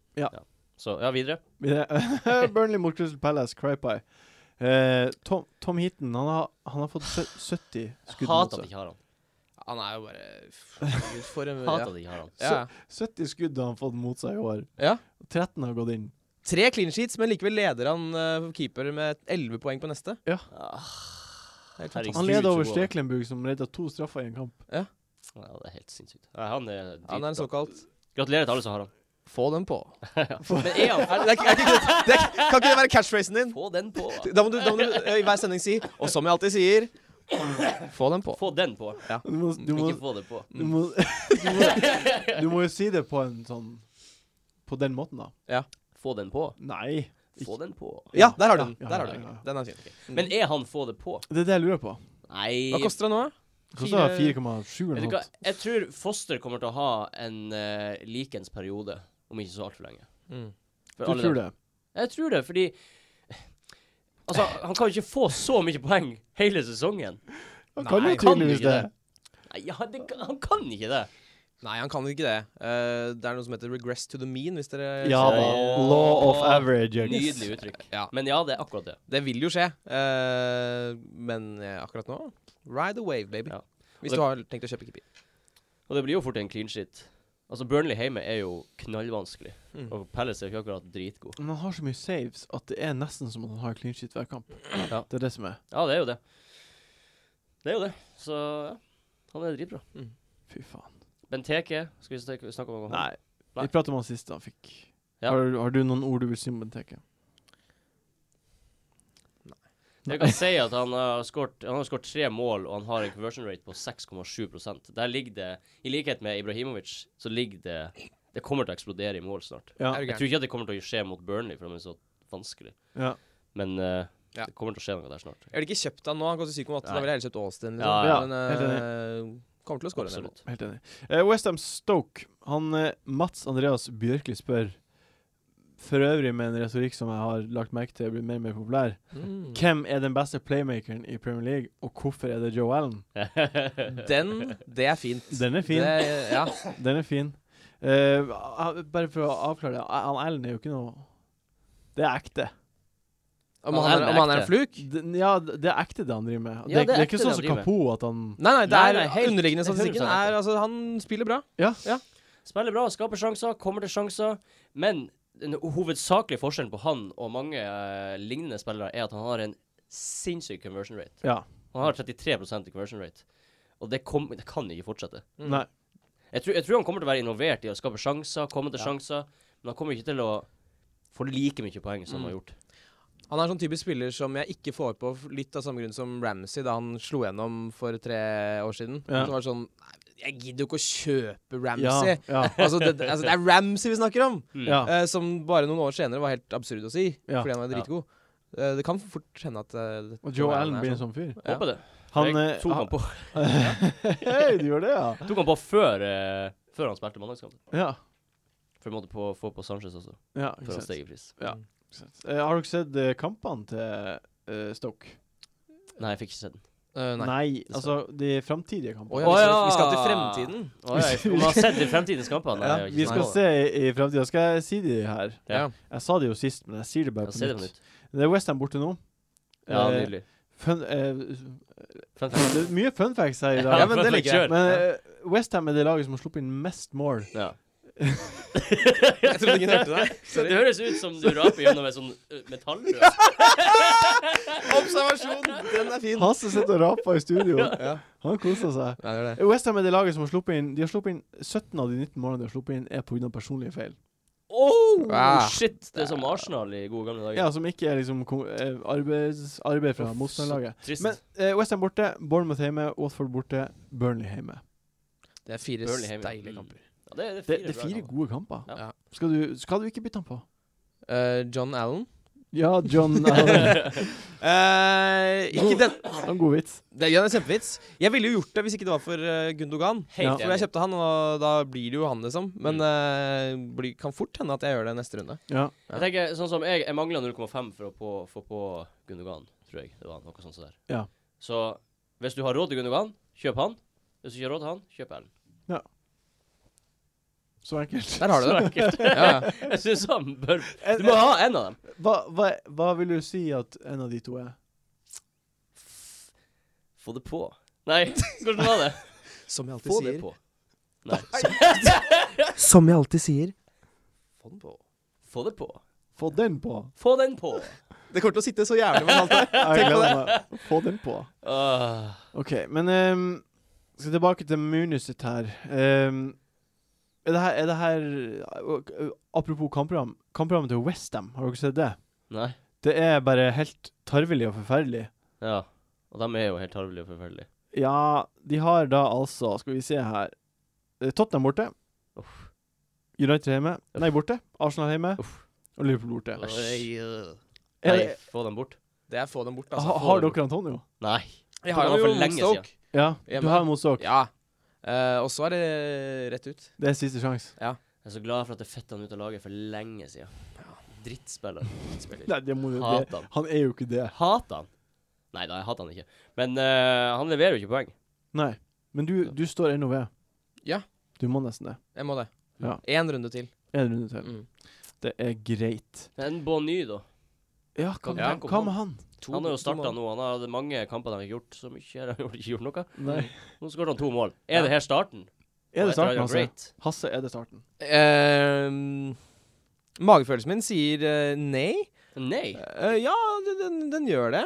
Speaker 2: Så ja, videre.
Speaker 1: Vi det- Burnley mot Crystal Palace, Crypie. Eh, Tom, Tom Heaton han har, han har fått sø- 70 skudd mot
Speaker 2: Hater at de
Speaker 1: seg.
Speaker 2: ikke har han.
Speaker 3: Han er jo bare Herregud, For en
Speaker 2: Hater
Speaker 3: ja.
Speaker 2: at de ikke har han.
Speaker 3: Ja.
Speaker 1: 70 skudd har han fått mot seg i år.
Speaker 3: Ja.
Speaker 1: 13 har gått inn.
Speaker 3: Tre clean sheets, men likevel leder han eh, keeper med 11 poeng på neste.
Speaker 2: Ah,
Speaker 3: Helt
Speaker 2: Herregud.
Speaker 1: Han leder over
Speaker 2: så god.
Speaker 1: Steklenburg, som redda to straffer i en kamp.
Speaker 2: Ja, det er helt sinnssykt. Nei, han er
Speaker 3: Han er en
Speaker 2: dritbra.
Speaker 3: såkalt
Speaker 2: Gratulerer til alle som har han.
Speaker 3: Få den på.
Speaker 2: Men er han
Speaker 3: Er, det er, ikke- er, ikke det- det er, kan ikke det være catchphrasen din?
Speaker 2: Få den på!
Speaker 3: Da må du, da må du eh, i hver sending si, og som jeg alltid sier Få den på.
Speaker 2: Få den på.
Speaker 1: Du må, du må,
Speaker 2: Mm, Ikke få Mm. det på.
Speaker 1: du må, du må, du må jo si det på en sånn På den måten, da.
Speaker 2: Få den på.
Speaker 1: Nei.
Speaker 2: Få den på.
Speaker 3: Ja, der har du den.
Speaker 1: Ja,
Speaker 3: Der
Speaker 1: ja,
Speaker 3: har du den.
Speaker 1: ja, ja.
Speaker 3: Den er fin.
Speaker 1: Mm.
Speaker 2: Men er han få det på?
Speaker 1: Det er det jeg lurer på.
Speaker 2: Nei
Speaker 3: Hva koster den nå? da?
Speaker 1: Kosta
Speaker 3: Fire-
Speaker 1: 4,7
Speaker 2: Vet
Speaker 1: eller
Speaker 2: du
Speaker 1: noe.
Speaker 2: hva, jeg tror Foster kommer til å ha en eh, likens periode, om ikke så altfor lenge. For
Speaker 1: Du
Speaker 2: alle
Speaker 1: tror
Speaker 2: de-
Speaker 1: det?
Speaker 2: Jeg tror det, fordi Altså, han kan jo ikke få så mye poeng hele sesongen.
Speaker 1: Han kan
Speaker 3: Nei,
Speaker 1: jo
Speaker 2: kan
Speaker 1: tydeligvis
Speaker 2: ikke
Speaker 1: det.
Speaker 2: det. Nei, ja, det, kan- han kan ikke det.
Speaker 3: Nei, han kan ikke det. Eh, det er noe som heter regress to the mean, hvis dere
Speaker 1: Ja da.
Speaker 2: Åh.
Speaker 1: Law of average. jeg guess.
Speaker 2: Eh, Nydelig uttrykk.
Speaker 3: Ja.
Speaker 2: Men ja, det er akkurat det.
Speaker 3: Det vil jo skje. Eh, men eh, akkurat nå Ride the wave, baby.
Speaker 2: Ja.
Speaker 3: Hvis
Speaker 2: det-
Speaker 3: du har tenkt å kjøpe keeper.
Speaker 2: Og det blir jo fort en clean shit. Altså, Burnley hjemme er jo knallvanskelig.
Speaker 3: Mm.
Speaker 2: Og Palace er jo ikke akkurat dritgod.
Speaker 1: Men han har så mye saves at det er nesten som at han har clean shit hver kamp.
Speaker 2: Ja.
Speaker 1: Det er det som er.
Speaker 2: Ja, det er jo det. Det er jo det. Så ja. Han er dritbra.
Speaker 1: Fy faen.
Speaker 2: Benteke Skal vi snakke snakke om han?
Speaker 1: Nei. Vi pratet om han sist han fikk.
Speaker 2: Ja.
Speaker 1: Har, har du noen ord du vil si om Benteke?
Speaker 2: Jeg kan si at han har skårt Han har skårt tre mål, og han har en conversion rate på 6,7 Der ligger det, i likhet med Ibrahimovic, så ligger det Det kommer til å eksplodere i mål snart.
Speaker 1: Ja.
Speaker 3: Er du
Speaker 2: Jeg
Speaker 3: gæren?
Speaker 2: tror ikke at det kommer til å skje mot Burnley, for de er så vanskelig.
Speaker 1: ja.
Speaker 2: Men eh,
Speaker 3: Ja.
Speaker 2: det kommer til å skje noe der snart.
Speaker 3: Jeg ville ikke kjøpt han nå. Han koster 7,8. Da
Speaker 2: Nei.
Speaker 3: ville jeg heller kjøpt Austin. Liksom.
Speaker 2: Ja,
Speaker 1: ja.
Speaker 3: Men eh, kommer til å skåre en del mål.
Speaker 2: Absolutt.
Speaker 1: Helt enig. Eh, Westham Stoke. Han eh, Mats Andreas Bjørkli spør for øvrig med en retorikk som jeg har lagt merke til blir mer og mer populær.
Speaker 3: Mm.
Speaker 1: Hvem er den beste playmakeren i Premier League, og hvorfor er det Joe Allen?
Speaker 3: Den, det er fint.
Speaker 1: Den er fin.
Speaker 3: Det, ja.
Speaker 1: Den er fin. Eh, ah, bare for å avklare det. Han Allen er jo ikke noe Det er ekte.
Speaker 3: Om
Speaker 2: Han
Speaker 3: han,
Speaker 2: er
Speaker 3: er,
Speaker 2: en
Speaker 3: om han er en
Speaker 2: ekte.
Speaker 3: fluk?
Speaker 1: Den, ja, det er ekte det han driver med.
Speaker 2: Ja,
Speaker 1: det, er-
Speaker 2: det er
Speaker 1: det er ikke
Speaker 2: ekte det
Speaker 1: sånn
Speaker 2: han
Speaker 1: som
Speaker 2: driver med.
Speaker 1: Capo at han
Speaker 3: Nei, nei, det
Speaker 2: Nei,
Speaker 3: er
Speaker 2: nei, helt-
Speaker 3: underliggende
Speaker 2: helt
Speaker 3: statistikken
Speaker 2: hundre
Speaker 3: er altså Han spiller bra.
Speaker 1: Ja.
Speaker 2: Spiller bra, skaper sjanser, kommer til sjanser. Men den hovedsakelige forskjellen på han og mange eh, lignende spillere er at han har en sinnssyk conversion rate.
Speaker 1: Ja.
Speaker 2: Han har 33 i conversion rate. Og det, kom, det kan ikke fortsette.
Speaker 1: Nei.
Speaker 2: Jeg tror, jeg tror han kommer til å være involvert i å skape sjanser, komme til
Speaker 3: Ja.
Speaker 2: sjanser, men han kommer ikke til å få like mye poeng som
Speaker 1: Mm.
Speaker 2: han har gjort.
Speaker 3: Han er sånn typisk spiller som jeg ikke får på f- litt av samme grunn som Ramsey da han slo gjennom for tre år siden.
Speaker 1: Ja.
Speaker 3: Det var sånn "Nei, Jeg gidder jo ikke å kjøpe
Speaker 1: Ja,
Speaker 3: Ramsey.
Speaker 1: ja,
Speaker 3: altså, det, altså, det er Ramsey vi snakker om!
Speaker 1: ja.
Speaker 3: Eh, som bare noen år senere var helt absurd å si,
Speaker 1: Ja.
Speaker 3: fordi han var
Speaker 2: Ja.
Speaker 3: dritgod. Eh, det kan fort hende at eh, det-
Speaker 1: Og Joe
Speaker 3: det er
Speaker 1: Allen
Speaker 3: sånn.
Speaker 1: blir en sånn fyr.
Speaker 3: Ja.
Speaker 2: Håper det.
Speaker 1: Han,
Speaker 2: jeg
Speaker 1: eh,
Speaker 2: tok
Speaker 1: han-
Speaker 2: han på,
Speaker 1: Hei, du gjør det, ja?
Speaker 2: tok han på før, eh, før han spilte mandagskampen.
Speaker 1: Ja.
Speaker 2: For jeg måtte på, få på Sanchez også,
Speaker 1: ja
Speaker 2: før
Speaker 1: ikke
Speaker 2: han
Speaker 1: sant.
Speaker 2: steg i pris.
Speaker 1: Ja.
Speaker 3: Mm.
Speaker 1: Ikke sant. Eh, har dere sett eh, kampene til eh, Stoke?
Speaker 2: Nei, jeg fikk ikke sett den.
Speaker 3: Eh,
Speaker 1: Nei.
Speaker 3: nei.
Speaker 1: altså de framtidige kampene.
Speaker 2: Å
Speaker 3: Å ja, vi, skal,
Speaker 2: ja.
Speaker 3: vi skal til fremtiden.
Speaker 2: Å, jeg, om man har sett de fremtidens kampene? Nei,
Speaker 3: Ja,
Speaker 2: jeg har ikke
Speaker 1: Vi
Speaker 2: sett
Speaker 1: skal
Speaker 2: den.
Speaker 1: se i, i framtida. Skal jeg si de her?
Speaker 2: Ja.
Speaker 1: Jeg sa det jo sist, men jeg sier det bare
Speaker 2: Ja, se det
Speaker 1: på
Speaker 2: på
Speaker 1: nytt.
Speaker 2: nytt.
Speaker 1: Det er Westham borte nå.
Speaker 2: Ja,
Speaker 1: Eh,
Speaker 2: nydelig.
Speaker 1: fun, eh,
Speaker 2: Fun fact.
Speaker 1: det er mye fun facts her i dag.
Speaker 2: Ja,
Speaker 1: men
Speaker 2: fun
Speaker 1: det
Speaker 2: fact,
Speaker 1: liker jeg.
Speaker 2: kjør.
Speaker 1: Men eh, Westham er det laget som har sluppet inn mest mål.
Speaker 2: Ja.
Speaker 3: Jeg trodde ingen hørte deg.
Speaker 2: Det høres ut som du raper gjennom et sånn eh, metallrør.
Speaker 3: Observasjon! Den er fin.
Speaker 1: Hasse sitter og raper i studio.
Speaker 3: Ja.
Speaker 1: Han koser seg.
Speaker 3: Ja, det er det.
Speaker 1: Westham er det laget som har sluppet inn De har sluppet inn 17 av de 19 målene de har sluppet inn, er pga. personlige feil.
Speaker 2: Oh,
Speaker 3: Ah.
Speaker 2: shit! Det er som Arsenal i gode gamle dager.
Speaker 1: Ja, Som ikke er liksom kon- eh, arbeids, arbeid fra motstanderlaget.
Speaker 2: Trist.
Speaker 1: Men eh, Westham borte, Bournemouth hjemme, Watford borte, Burnley hjemme.
Speaker 3: Det er fire
Speaker 2: Burnley hjemme.
Speaker 3: deilige
Speaker 2: Mm.
Speaker 3: kamper.
Speaker 2: ja, det, det er
Speaker 1: Det,
Speaker 2: fire,
Speaker 1: det er
Speaker 2: bra
Speaker 1: fire
Speaker 2: kamper.
Speaker 1: gode kamper.
Speaker 3: Ja.
Speaker 1: Skal du, skal du ikke bytte han på?
Speaker 3: Eh, John Allen.
Speaker 1: Ja, John Allen.
Speaker 3: Eh, ikke den
Speaker 1: En god vits.
Speaker 3: Det er en kjempevits. Jeg ville jo gjort det hvis ikke det var for eh, Gundogan.
Speaker 2: Helt
Speaker 3: For jeg
Speaker 2: enig. Mm.
Speaker 3: kjøpte han, og da blir det jo han, liksom. Men det kan fort hende at jeg gjør det neste runde.
Speaker 1: Ja.
Speaker 2: Jeg tenker, sånn som jeg, jeg mangler 0,5 for å på, få på Gundogan, tror jeg. Det var noe sånt som der.
Speaker 1: Ja.
Speaker 2: Så hvis du har råd til Gundogan, kjøp han. Hvis du ikke har råd til han, kjøp Ellen.
Speaker 1: Så enkelt.
Speaker 3: Der har du
Speaker 2: Så
Speaker 3: det.
Speaker 2: enkelt.
Speaker 3: Ja, ja.
Speaker 2: jeg syns han bør
Speaker 1: En-
Speaker 2: Du må ha en av dem.
Speaker 1: eh, Hva, hva, hva vil du si at en av de to er?
Speaker 2: Få det på. Nei, hvordan var det?
Speaker 3: Som jeg alltid
Speaker 2: Få det
Speaker 3: sier.
Speaker 2: på. Nei.
Speaker 3: Som jeg alltid sier.
Speaker 2: Få den på. Få det på.
Speaker 1: Få den på!
Speaker 2: Få den på.
Speaker 3: Det kommer til å sitte så jævlig med alt der.
Speaker 1: Jeg
Speaker 3: Tenk på
Speaker 1: gleder meg. Få den på.
Speaker 2: Ah.
Speaker 1: OK, men ehm, skal tilbake til Munis sitt her. Ehm, er det her, er det her øh, øh, Apropos kampprogram. Kampprogrammet til Westham, har dere sett det?
Speaker 2: Nei.
Speaker 1: Det er bare helt tarvelig og forferdelig.
Speaker 2: Ja. Og de er jo helt tarvelige og forferdelige.
Speaker 1: Ja, de har da altså Skal vi se her eh, Tottenham borte.
Speaker 2: Uff.
Speaker 1: United hjemme. Nei, borte. Arsenal hjemme.
Speaker 2: Uff.
Speaker 1: Og Liverpool borte.
Speaker 2: Æsj.
Speaker 5: Oi, øh.
Speaker 1: Er
Speaker 2: Nei,
Speaker 1: det,
Speaker 2: få dem bort.
Speaker 3: Det er få dem bort,
Speaker 1: ha,
Speaker 3: altså.
Speaker 1: har dere Antonio?
Speaker 2: Nei.
Speaker 3: Jeg har
Speaker 2: Det var
Speaker 3: jo
Speaker 2: for lenge
Speaker 3: Stoke.
Speaker 1: Ja, du
Speaker 3: Hjemme.
Speaker 1: har Mosok.
Speaker 3: Ja. Eh, og så er det rett ut.
Speaker 1: Det er siste sjanse.
Speaker 2: Jeg er så glad for at jeg fett han ut av laget for lenge siden. Drittspiller.
Speaker 1: Nei, det må du det.
Speaker 2: Hater han.
Speaker 1: Han er jo ikke det.
Speaker 2: Hater han? Nei da, jeg hater han ikke. Men eh, han leverer jo ikke poeng.
Speaker 1: Nei. Men du, du står ennå ved.
Speaker 3: Ja.
Speaker 1: Du må nesten det.
Speaker 3: Jeg må det.
Speaker 1: Ja.
Speaker 3: Én runde til.
Speaker 1: En runde til.
Speaker 3: Mm.
Speaker 1: Det er greit.
Speaker 2: Men Bonny, da.
Speaker 1: Ja, hva,
Speaker 2: Ja.
Speaker 1: hva med han?
Speaker 3: To-
Speaker 2: Han har jo
Speaker 3: to
Speaker 2: starta
Speaker 3: mål.
Speaker 2: nå. Han hadde mange kamper han har ikke gjort så mye. Han har ikke gjort noe.
Speaker 1: Nei.
Speaker 2: Nå skåret han to mål. Er det her starten?
Speaker 1: Er det
Speaker 2: Og etter
Speaker 1: starten, altså?
Speaker 2: Great.
Speaker 1: Hasse, er det starten?
Speaker 3: Eh, magefølelsen min sier eh, nei.
Speaker 2: Nei.
Speaker 3: Eh, ja, den, den, den gjør det.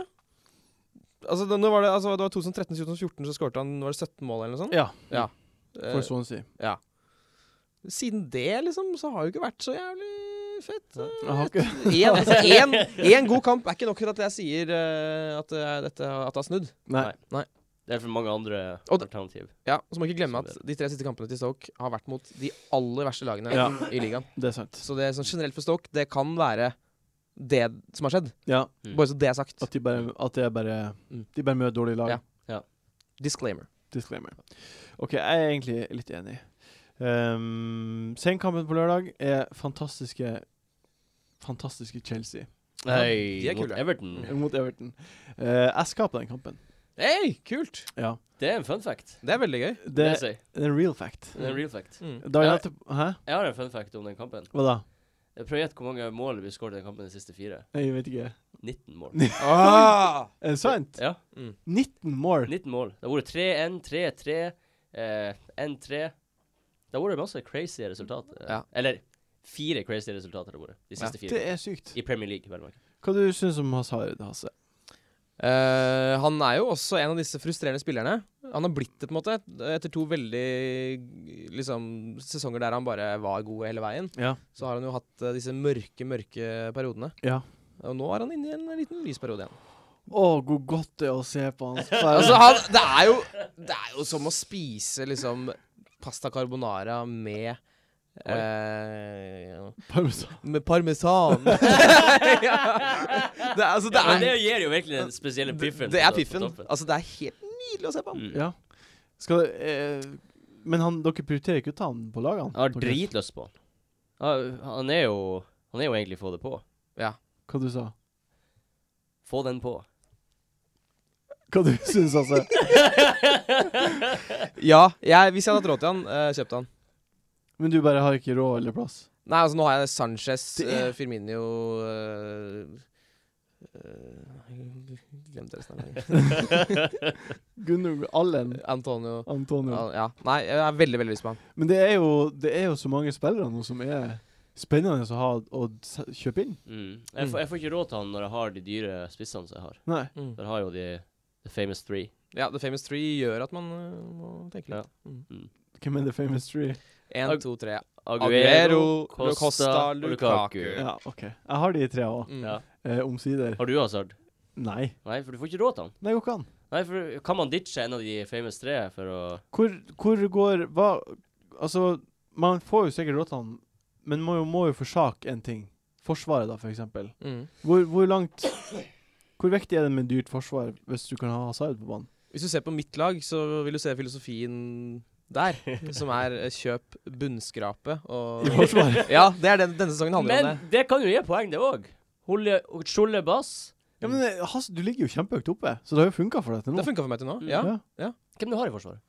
Speaker 3: Altså, det, nå var det, altså, det var 2013-2014 så skåret han var det 17 mål eller noe sånt.
Speaker 1: Ja.
Speaker 3: Ja. Eh,
Speaker 1: For Swansea.
Speaker 3: siden det, liksom, så har det jo ikke vært så jævlig fett. eh.
Speaker 1: Jeg har ikke
Speaker 3: Én altså, en- en god kamp er ikke nok til at jeg sier eh, at, eh, dette, at det har snudd.
Speaker 1: Nei.
Speaker 2: Det er for mange andre
Speaker 3: Og det-
Speaker 2: alternativ.
Speaker 3: Ja, og Så må vi ikke glemme at de tre siste kampene til Stoke har vært mot de aller verste lagene
Speaker 1: Ja.
Speaker 3: i ligaen.
Speaker 1: Det er sant.
Speaker 3: Så det sånn generelt for Stoke, det kan være det som har skjedd.
Speaker 1: Ja.
Speaker 2: Mm.
Speaker 3: Bare så det er sagt.
Speaker 1: At de bare, at det er bare
Speaker 3: Mm.
Speaker 1: De bare møter dårlige lag.
Speaker 3: Ja. Disclaimer.
Speaker 1: Disclaimer. OK, jeg er egentlig litt enig. Um, Senkampen på lørdag er fantastiske Fantastiske Chelsea
Speaker 2: Nei,
Speaker 3: de er
Speaker 2: mot
Speaker 3: kule. Mm.
Speaker 2: Everton.
Speaker 1: mot Everton. Eh, jeg skal på den kampen.
Speaker 3: Hei, kult!
Speaker 1: Ja.
Speaker 2: Det er en fun fact.
Speaker 3: Det er veldig gøy.
Speaker 1: Det,
Speaker 2: Det, jeg sier.
Speaker 1: det er en real fact.
Speaker 2: det er en real fact.
Speaker 3: Mm.
Speaker 1: Da
Speaker 2: Ja.
Speaker 1: jeg til, hæ?
Speaker 2: Jeg har en fun fact om den kampen.
Speaker 1: Hva da?
Speaker 2: Jeg prøver å gjette hvor mange mål vi skåret i den kampen de siste fire.
Speaker 1: Jeg vet ikke.
Speaker 2: 19 mål.
Speaker 3: Ah!
Speaker 1: Er det sant?
Speaker 2: Ja, Mm.
Speaker 1: 19 mål!
Speaker 2: 19 mål. Det har vært 3-1, 3-3, eh, 1-3. Det har vært masse crazy resultat. eh,
Speaker 3: Ja.
Speaker 2: Eller fire crazy resultater det har vært de siste
Speaker 1: Det
Speaker 2: fire.
Speaker 1: er sykt.
Speaker 2: I Premier League, vel å merke.
Speaker 1: Hva du syns om Hazard, Hasse?
Speaker 3: Eh, han er jo også en av disse frustrerende spillerne. Han har blitt det, på en måte, etter to veldig liksom, sesonger der han bare var god hele veien.
Speaker 1: Ja.
Speaker 3: Så har han jo hatt eh, disse mørke, mørke periodene.
Speaker 1: Ja.
Speaker 3: Og nå er han inne i en liten lysperiode igjen.
Speaker 1: Å, hvor godt det er å se på han spille.
Speaker 3: Altså, han, det, er jo, det er jo som å spise liksom pasta carbonara med eh,
Speaker 1: Parmesan.
Speaker 3: Med parmesan. ja. det, er- altså, det,
Speaker 2: Ja, men det
Speaker 3: er,
Speaker 2: gir jo virkelig den spesielle piffen.
Speaker 3: det
Speaker 2: på
Speaker 3: er
Speaker 2: to- på
Speaker 3: piffen.
Speaker 2: toppen.
Speaker 3: Altså, det er helt nydelig å se på.
Speaker 2: Mm.
Speaker 1: Ja. Skal eh, Men han, dere prioriterer ikke å ta han på lagene?
Speaker 2: Jeg har dritlyst på han. Ja, Han er jo Han er jo egentlig få det på.
Speaker 1: Hva du sa
Speaker 2: Få den på.
Speaker 1: Hva du syns, altså?
Speaker 3: Ja, jeg, hvis jeg hadde hatt råd til han, eh, kjøpte han.
Speaker 1: Men du bare har ikke råd eller plass?
Speaker 3: Nei, altså nå har jeg Sanchez,
Speaker 1: Det er-
Speaker 3: eh, Firmino eh, eh, Glemte resten av laget.
Speaker 1: Gunnar Allen,
Speaker 3: Antonio
Speaker 1: Antonio
Speaker 2: Mm.
Speaker 3: ja, ja. Nei, jeg har veldig veldig lyst på han.
Speaker 1: Men det er, jo, det er jo så mange spillere nå som er spennende å ha å s- kjøpe inn.
Speaker 2: Mm. Jeg, får, jeg får ikke råd til han når jeg har de dyre spissene som jeg har.
Speaker 1: Nei.
Speaker 2: For jeg har jo de The Famous Three.
Speaker 3: Ja, The Famous Three gjør at man eh, må tenke litt.
Speaker 1: Hvem er The Famous Three?
Speaker 3: Én,
Speaker 2: Ag-
Speaker 3: to, tre. Aguero,
Speaker 2: Aguero, Costa,
Speaker 3: Costa,
Speaker 2: og Lukaku.
Speaker 3: Lukaku.
Speaker 1: Ja, OK. Jeg har de tre òg.
Speaker 3: Mm.
Speaker 2: Ja.
Speaker 1: Eh, omsider.
Speaker 2: Har du Hazard?
Speaker 1: Nei.
Speaker 2: Nei, for du får ikke råd til han.
Speaker 1: Det går ikke an.
Speaker 2: Nei, for Kan man ditche en av de famous tre for å
Speaker 1: Hvor, hvor går Hva Altså, man får jo sikkert råd til han, men må jo, må jo forsake en ting. Forsvaret, da, for eksempel.
Speaker 3: Mm.
Speaker 1: Hvor, hvor langt Hvor viktig er det med dyrt forsvar hvis du kan ha Hazard på banen?
Speaker 3: Hvis du ser på mitt lag, så vil du se filosofien der. Som er eh, kjøp bunnskrape og
Speaker 1: I forsvaret?
Speaker 3: Ja, det er den, denne sesongen handler
Speaker 2: Men
Speaker 3: om det.
Speaker 2: det kan jo gi poeng, det òg. Skjolle bass.
Speaker 1: ja, men eh, Hazard, du ligger jo kjempehøyt oppe, så det har jo funka for deg til
Speaker 3: Det
Speaker 1: nå.
Speaker 3: har funka for meg til nå.
Speaker 2: Mm.
Speaker 3: Ja.
Speaker 2: Hvem du har i forsvaret?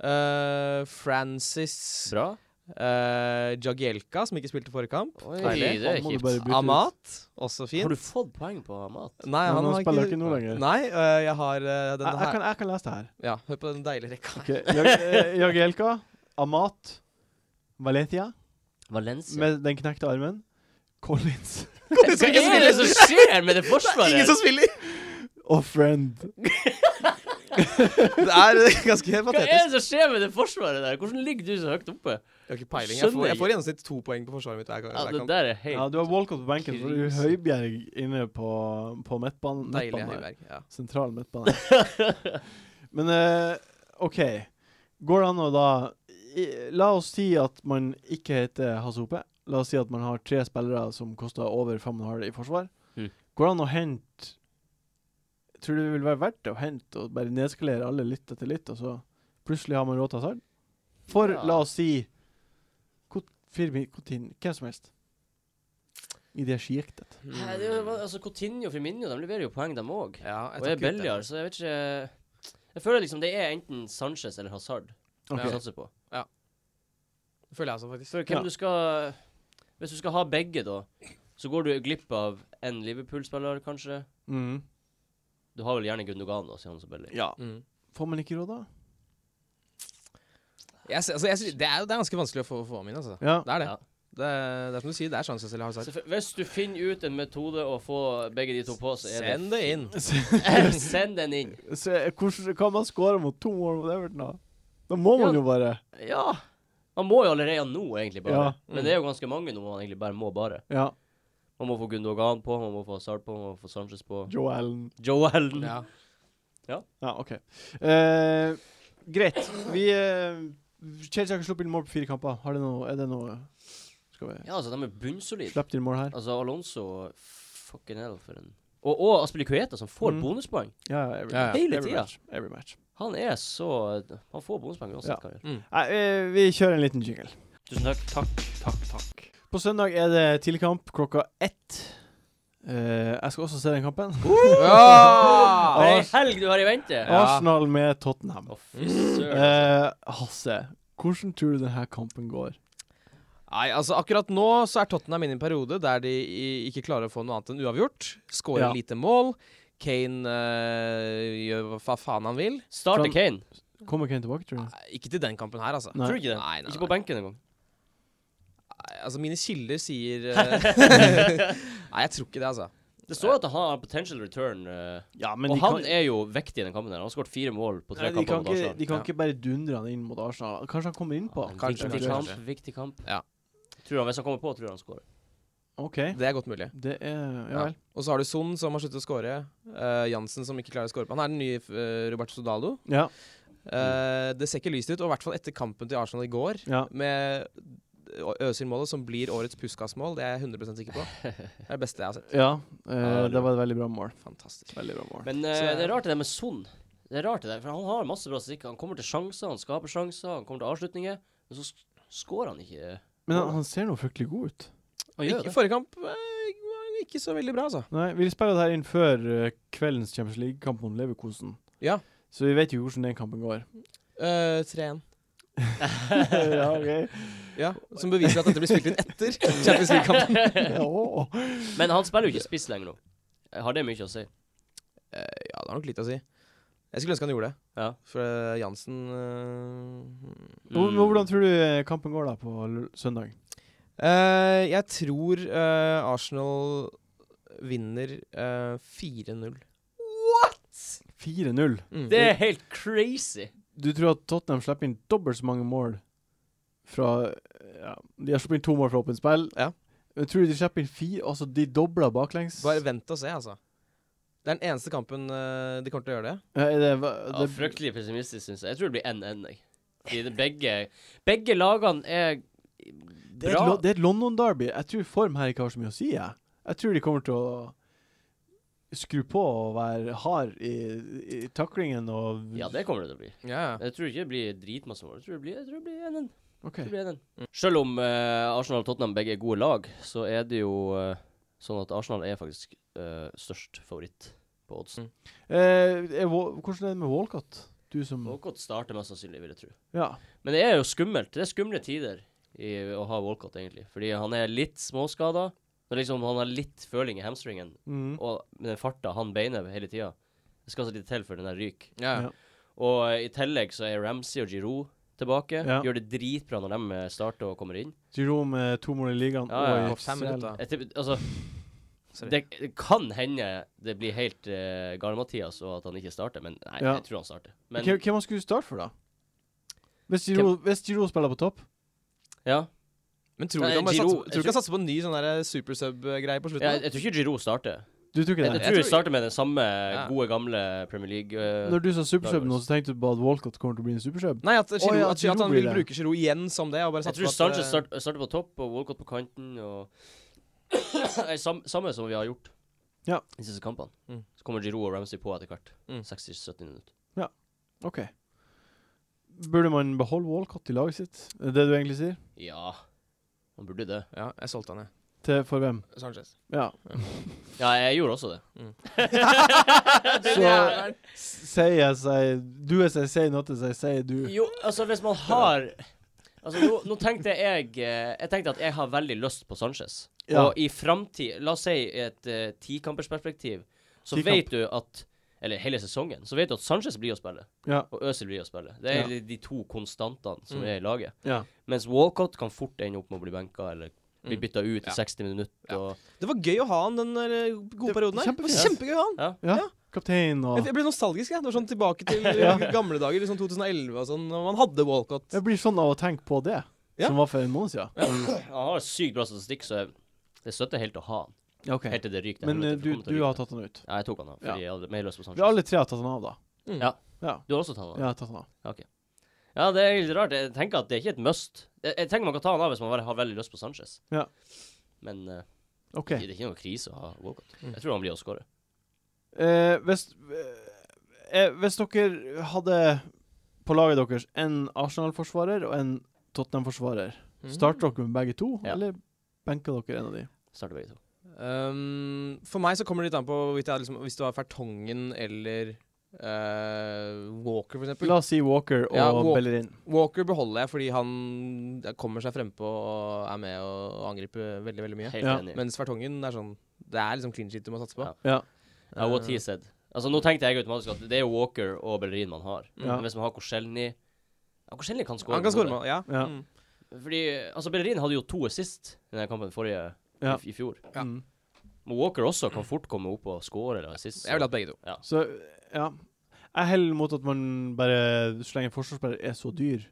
Speaker 3: Eh, Francis
Speaker 2: Bra.
Speaker 3: eh, Jagielka, som ikke spilte forrige kamp.
Speaker 2: Oi,
Speaker 1: Deilig.
Speaker 2: det er
Speaker 1: Han må du
Speaker 2: kjipt.
Speaker 1: bare bytte ut.
Speaker 3: Amat, også fin.
Speaker 2: Har du fått poeng på Amat?
Speaker 3: Nei,
Speaker 1: Men
Speaker 3: han,
Speaker 1: han
Speaker 3: har
Speaker 1: spiller ikke nå lenger.
Speaker 3: Nei, øh, jeg har øh,
Speaker 1: Jeg,
Speaker 3: denne
Speaker 1: jeg,
Speaker 3: her.
Speaker 1: kan, jeg kan lese det her.
Speaker 3: Ja, hør på den deilige rekka.
Speaker 1: Ok, Jag- eh, Jagielka, Amat, Valencia
Speaker 2: Valencia.
Speaker 1: med den knekte armen, Collins
Speaker 2: Hva er det som skjer med det
Speaker 3: Ingen som
Speaker 2: forsvaret?
Speaker 3: spiller!
Speaker 1: og Friend.
Speaker 3: Det er øh, ganske
Speaker 2: Hva er
Speaker 3: patetisk.
Speaker 2: det som skjer med det forsvaret der? Hvordan ligger du så høyt oppe?
Speaker 3: Jeg har ikke peiling. Jeg får, jeg får i gjennomsnitt to poeng på forsvaret mitt hver gang.
Speaker 2: Ja,
Speaker 3: hver
Speaker 2: det
Speaker 3: kamp.
Speaker 2: der er helt
Speaker 1: Ja, du har Walcott på benken, så har du Høibjerg inne på, på midtbanen.
Speaker 3: Deilig
Speaker 1: midtbanen der.
Speaker 3: Høiberg. Ja.
Speaker 1: Sentral midtbane. Men eh, OK. Går det an å da i, La oss si at man ikke heter Hasope. La oss si at man har tre spillere som koster over 5,5 i forsvar.
Speaker 2: Mm.
Speaker 1: Går det an å hente Tror du det vil være verdt det å hente og bare nedskalere alle litt etter litt, og så plutselig har man råd til hasard? For
Speaker 2: Ja.
Speaker 1: la oss si Kot- Firmi, Coutinho, hvem som helst. I det sjiktet.
Speaker 2: Hæ, det er jo, altså, Coutinho og Firmino de leverer jo poeng, dem òg.
Speaker 3: Ja,
Speaker 2: Og er altså.
Speaker 3: Mm. jeg tar kutt, jeg.
Speaker 2: billigere, så jeg vet ikke Jeg føler liksom det er enten Sanchez eller Hazard
Speaker 1: Ok.
Speaker 2: du satser på.
Speaker 3: Det føler jeg også, faktisk.
Speaker 2: For hvem
Speaker 1: Ja.
Speaker 2: du skal Hvis du skal ha begge, da, så går du glipp av en Liverpool-spiller, kanskje.
Speaker 1: Mm.
Speaker 2: Du har vel gjerne Gundogan, da, sier han så billig.
Speaker 1: Ja.
Speaker 3: Mm.
Speaker 1: Får man ikke råd da?
Speaker 3: Jeg, sy- altså, jeg, sy- det, er, det er ganske vanskelig å få, få min, altså.
Speaker 1: Ja.
Speaker 3: Det er det.
Speaker 2: Ja.
Speaker 3: Det, er- det er som du sier, det er sjanse til å ha
Speaker 2: Så
Speaker 3: sagt.
Speaker 2: f- Hvis du finner ut en metode å få begge de to på, så er
Speaker 3: Send det inn.
Speaker 2: det Send den inn.
Speaker 1: Se, hvordan kan man score mot to mål mot Everton, da? Da må man
Speaker 2: Ja.
Speaker 1: jo bare
Speaker 2: Ja. Man må jo allerede nå, egentlig, bare.
Speaker 1: Ja.
Speaker 2: Men det er jo ganske mange nå man egentlig bare må bare.
Speaker 1: Ja.
Speaker 2: Man må få Gundogan på, man må få Hazard på, man må få Sanchez på.
Speaker 1: Joe Allen.
Speaker 2: Joellen.
Speaker 3: Ja.
Speaker 1: Ja, OK. Eh, greit. Vi eh, Chelsea har ikke sluppet inn mål på fire kamper. Har det noe, er det noe Skal vi
Speaker 2: Ja, altså, de er bunnsolide.
Speaker 1: Slipp inn mål her?
Speaker 2: Altså, Alonso Fucking hell, for en Og, og Aspilicueta, som får
Speaker 1: Mm.
Speaker 2: bonuspoeng.
Speaker 1: Ja, ja. Every,
Speaker 3: Ja, ja.
Speaker 2: Hele
Speaker 1: every
Speaker 2: tida.
Speaker 1: match. Every match.
Speaker 2: Han er så Han får bonuspoeng uansett
Speaker 1: Ja.
Speaker 2: hva han gjør.
Speaker 1: Nei, eh, vi kjører en liten jingle.
Speaker 2: Tusen takk. Takk, takk, takk.
Speaker 1: På søndag er det tidligkamp klokka ett. Eh, jeg skal også se den kampen.
Speaker 2: Det er
Speaker 3: Ja!
Speaker 2: ei helg du har i vente! Å,
Speaker 3: Ja.
Speaker 1: Arsenal med Tottenham.
Speaker 2: fy søren. altså.
Speaker 1: Eh, Hasse, hvordan tror du denne kampen går?
Speaker 3: Nei, altså Akkurat nå så er Tottenham inne i en periode der de i- ikke klarer å få noe annet enn uavgjort. Skårer
Speaker 1: Ja.
Speaker 3: lite mål. Kane øh, gjør hva fa- faen han vil.
Speaker 2: Starter
Speaker 1: Fram-
Speaker 2: Kane.
Speaker 1: Kommer Kane tilbake, tror du?
Speaker 3: Nei, Ikke til den kampen her, altså.
Speaker 2: Tror du ikke det?
Speaker 3: Nei, nei,
Speaker 2: Ikke på benken engang.
Speaker 3: Nei, altså Mine kilder sier øh, Nei, eh, jeg tror ikke det, altså.
Speaker 2: Det står at han har potential return, eh,
Speaker 1: Ja, men
Speaker 2: og
Speaker 1: de
Speaker 2: han
Speaker 1: kan,
Speaker 2: er jo vektig i den kampen. her Han har skåret fire mål på
Speaker 1: nei,
Speaker 2: tre
Speaker 1: de
Speaker 2: kamper
Speaker 1: kan,
Speaker 2: mot
Speaker 1: ikke,
Speaker 2: Arsenal.
Speaker 1: de kan
Speaker 3: Ja.
Speaker 1: ikke bare dundre han inn mot Arsenal. Kanskje han kommer innpå?
Speaker 2: Ja,
Speaker 3: Kanskje,
Speaker 2: Viktig
Speaker 3: kanskje.
Speaker 2: kamp, viktig kamp.
Speaker 3: Ja.
Speaker 2: Tror han, Hvis han kommer på, tror jeg han skårer.
Speaker 1: OK.
Speaker 3: Det er godt mulig.
Speaker 1: Det er Ja
Speaker 3: Ja.
Speaker 1: vel.
Speaker 3: Og så har du Son, som har sluttet å skåre. eh, Jansen, som ikke klarer å skåre. Han er den nye eh, Roberto Sodalo.
Speaker 1: Ja.
Speaker 3: Eh, det ser ikke lyst ut, og i hvert fall etter kampen til Arsenal i går,
Speaker 1: ja.
Speaker 3: med Øzil-målet, som blir årets Puskas-mål. Det er jeg 100 sikker på. Det er det beste jeg har sett.
Speaker 1: ja eh,
Speaker 2: Ja, det
Speaker 1: det var et veldig bra mål.
Speaker 3: Fantastisk.
Speaker 1: Veldig bra mål.
Speaker 2: Men eh,
Speaker 3: Så-
Speaker 2: det er rart det der med Son. Det er rart det der, for Han har masse bra statistikk. Han kommer til sjanser, han skaper sjanser, han kommer til avslutninger. Men så sk- skårer han ikke.
Speaker 1: Men han, han ser nå fryktelig god ut.
Speaker 2: Han gjør
Speaker 3: Ikke,
Speaker 2: det.
Speaker 3: forrige kamp eh, var ikke så veldig bra, altså.
Speaker 1: Nei, vi spiller det her inn før eh, kveldens Champions League-kamp mot Leverkusen.
Speaker 3: Ja.
Speaker 1: Så vi vet jo hvordan den kampen går.
Speaker 3: Eh, 3-1.
Speaker 1: ja, ok.
Speaker 3: Ja, som beviser at dette blir spilt inn etter Champions League-kampen.
Speaker 1: Ja, å, å.
Speaker 2: Men han spiller jo ikke spiss lenger nå. Eh, Har det mye å si?
Speaker 3: Eh, ja, det har nok litt å si. Jeg skulle ønske han gjorde det.
Speaker 2: Ja.
Speaker 3: For eh, Jansen eh,
Speaker 1: Hvor-
Speaker 2: Mm.
Speaker 1: Hvordan tror du eh, kampen går da på l- søndag?
Speaker 3: eh, Jeg tror eh, Arsenal vinner eh, 4-0.
Speaker 1: 4-0.
Speaker 3: Mm.
Speaker 2: Det er helt crazy!
Speaker 1: Du tror at Tottenham slipper inn dobbelt så mange mål fra ja, De har sluppet inn to mål fra åpent spill.
Speaker 3: Ja.
Speaker 1: Jeg tror de slipper inn fire Altså, de dobler baklengs.
Speaker 3: Bare vent og se, altså. Det er den eneste kampen eh, de kommer til å gjøre det.
Speaker 1: Ja, er det, hva-
Speaker 2: Ja,
Speaker 1: det,
Speaker 2: fryktelig pessimistisk, syns jeg. Jeg tror det blir 1-1. jeg. Fordi det begge, begge lagene er
Speaker 1: det, er et,
Speaker 2: bra.
Speaker 1: lo- det er et London-derby. Jeg tror form her ikke har så mye å si. Jeg, jeg tror de kommer til å skru på og være hard i, i taklingen og
Speaker 2: Ja, det kommer det til å bli.
Speaker 3: Ja, ja.
Speaker 2: Jeg tror ikke det blir dritmasse mål. Jeg tror det blir, jeg tror det blir 1-1.
Speaker 1: OK.
Speaker 2: Det blir den. Mm. Selv om eh, Arsenal og Tottenham begge er gode lag, så er det jo eh, sånn at Arsenal er faktisk eh, størst favoritt på oddsen.
Speaker 1: Eh, er, Wa- hvordan er det med Walcott? Du som
Speaker 2: Walcott starter mest sannsynlig, vil jeg tro.
Speaker 1: Ja.
Speaker 2: Men det er jo skummelt. Det er skumle tider i å ha Walcott, egentlig. Fordi han er litt småskada. Men liksom, han har litt føling i hamstringen.
Speaker 1: Mm.
Speaker 2: Og med den farta han beiner hele tida. Det skal så litt til før den der ryker.
Speaker 3: ja, ja.
Speaker 1: Ja.
Speaker 2: Og eh, i tillegg så er Ramsey og Giroud tilbake.
Speaker 1: Ja.
Speaker 2: Gjør det dritbra når de eh, starter og kommer inn.
Speaker 1: Giroud med to mål i ligaen
Speaker 2: Ja, ja,
Speaker 1: og i
Speaker 3: På fem
Speaker 1: CL.
Speaker 3: minutter.
Speaker 2: Jeg tipper, altså
Speaker 3: Sorry.
Speaker 2: det, det kan hende det blir helt uh, Gale-Mathias og at han ikke starter, men nei,
Speaker 1: Ja.
Speaker 2: jeg tror han starter. Men
Speaker 1: Hvem- Hvem man skulle starte for, da? Hvis Giroud, hvis Giroud spiller på topp?
Speaker 2: ja,
Speaker 3: Men tror du
Speaker 2: Nei,
Speaker 3: ikke han bare
Speaker 2: Giroud-
Speaker 3: satser- tror du ikke han satser på en ny sånn der supersub-greie på
Speaker 2: jeg,
Speaker 3: slutten?
Speaker 2: jeg tror ikke Giroud starter.
Speaker 1: Du tror ikke
Speaker 2: Jeg,
Speaker 1: det?
Speaker 2: jeg
Speaker 3: Jeg
Speaker 2: tror
Speaker 3: tror-
Speaker 2: vi starter med den samme
Speaker 3: Ja.
Speaker 2: gode, gamle Premier League. eh,
Speaker 1: Når du sa supersub nå,
Speaker 2: Douglas.
Speaker 1: så tenkte du på at Walcott kommer til å bli en supersub?
Speaker 3: Nei, at, Giroud,
Speaker 1: ja,
Speaker 3: at, at
Speaker 1: Giroud
Speaker 3: han
Speaker 1: blir
Speaker 3: vil
Speaker 1: det.
Speaker 3: bruke Giroud igjen som det. Og bare
Speaker 2: jeg
Speaker 3: satse på
Speaker 2: tror
Speaker 3: at,
Speaker 2: Sanchez
Speaker 3: eh,
Speaker 2: start, starter på topp og Walcott på kanten. Og Nei, sam, samme som vi har gjort
Speaker 1: Ja.
Speaker 2: de siste kampene.
Speaker 3: Mm.
Speaker 2: Så kommer Giroud og Ramsey på etter hvert.
Speaker 3: Mm.
Speaker 2: 60-70 minutter.
Speaker 1: OK. Burde man beholde Walcott i laget sitt? Er det du egentlig sier?
Speaker 2: Ja, man burde det.
Speaker 3: Ja, jeg solgte han, jeg.
Speaker 1: Til for hvem?
Speaker 3: Sanchez.
Speaker 1: Ja.
Speaker 2: Ja, jeg gjorde også det.
Speaker 1: Så sier jeg seg Du er seg, sier noe, sier sier du.
Speaker 2: Jo, altså hvis man har Altså nå, nå tenkte jeg eh, Jeg tenkte at jeg har veldig lyst på Sanchez.
Speaker 1: Ja.
Speaker 2: Og i framtid, la oss si i et uh, tikampersperspektiv, så
Speaker 1: Tikamp.
Speaker 2: vet du at Eller hele sesongen, så vet du at Sanchez blir å spille,
Speaker 1: Ja.
Speaker 2: og Øzil blir å spille. Det er
Speaker 1: Ja.
Speaker 2: de, de to konstantene som
Speaker 3: Mm.
Speaker 2: er i laget.
Speaker 1: Ja.
Speaker 2: Mens Walcott kan fort ende opp med å bli benka eller bli
Speaker 3: Mm.
Speaker 2: bytta ut i
Speaker 3: Ja.
Speaker 2: 60 minutter.
Speaker 3: Ja.
Speaker 2: Og,
Speaker 3: Det var gøy å ha han den der eh, gode
Speaker 1: Det-
Speaker 3: perioden her. Det var
Speaker 1: kjempefint.
Speaker 3: kjempegøy å ha han.
Speaker 1: ja.
Speaker 3: Ja.
Speaker 1: Kaptein og
Speaker 3: Jeg jeg ble nostalgisk. jeg. Det var sånn Tilbake til
Speaker 1: Ja.
Speaker 3: eh, gamle dager, liksom 2011 og sånn. når Man hadde Walcott.
Speaker 1: Jeg blir sånn av å tenke på det,
Speaker 3: Ja.
Speaker 1: som var for en måned siden.
Speaker 2: han har sykt bra statistikk, så jeg, det støtter helt å ha han. Helt til det ryker. til
Speaker 1: Men
Speaker 2: helvete,
Speaker 1: eh,
Speaker 2: for
Speaker 1: du,
Speaker 2: kommer til å
Speaker 1: du
Speaker 2: ryke
Speaker 1: har
Speaker 2: til.
Speaker 1: tatt han ut.
Speaker 2: Ja, jeg tok han av, fordi
Speaker 1: Ja.
Speaker 2: jeg hadde mer lyst på Sanchez.
Speaker 1: Vi alle tre har tatt han av, da.
Speaker 3: Mm.
Speaker 2: Ja.
Speaker 1: Ja,
Speaker 2: Du har også tatt han av?
Speaker 1: jeg har tatt han av.
Speaker 2: Ja, det er litt rart. Jeg tenker at det er ikke et must. Jeg, jeg tenker man kan ta han av hvis man bare har veldig lyst på Sanchez.
Speaker 1: Ja.
Speaker 2: Men eh,
Speaker 1: OK.
Speaker 2: det er ikke noe krise å ha Walcott.
Speaker 3: Mm.
Speaker 2: Jeg tror han blir å skåre.
Speaker 1: Eh, hvis, eh, hvis dere hadde på laget deres en Arsenal-forsvarer og en Tottenham-forsvarer,
Speaker 3: Mm.
Speaker 1: starter dere med begge to,
Speaker 2: Mm. Ja.
Speaker 1: eller benker dere en av de?
Speaker 2: Starter begge to.
Speaker 3: Um, for meg så kommer det litt an på hvorvidt jeg, liksom, hvis du har Fertongen eller eh, Walker, for eksempel.
Speaker 1: La oss si Walker og
Speaker 3: Ja, Walk-
Speaker 1: Bellerin.
Speaker 3: Walker beholder jeg fordi han eh, kommer seg frempå og er med og angriper veldig, veldig mye.
Speaker 2: Helt
Speaker 1: Ja.
Speaker 2: enig.
Speaker 3: Mens Fertongen er sånn Det er liksom clean shit du må satse på. Eh,
Speaker 2: Ja.
Speaker 1: Ja.
Speaker 2: Ja, what
Speaker 1: eh,
Speaker 2: he said. Altså, nå tenkte jeg automatisk at det er jo Walker og Bellerin man har.
Speaker 1: Ja.
Speaker 2: Men hvis man har Korselny ja, Korselny kan skåre.
Speaker 3: Han kan skåre med, ja.
Speaker 1: Ja.
Speaker 3: Mm.
Speaker 2: Fordi altså, Bellerin hadde jo to assist i denne kampen forrige
Speaker 1: Ja.
Speaker 2: i, i fjor.
Speaker 3: Ja.
Speaker 1: Mm.
Speaker 2: Men Walker også kan fort komme opp og score eller assist.
Speaker 3: Jeg ville hatt begge to.
Speaker 1: Så ja. Jeg heller mot at man bare Så lenge en forsvarsspiller er så dyr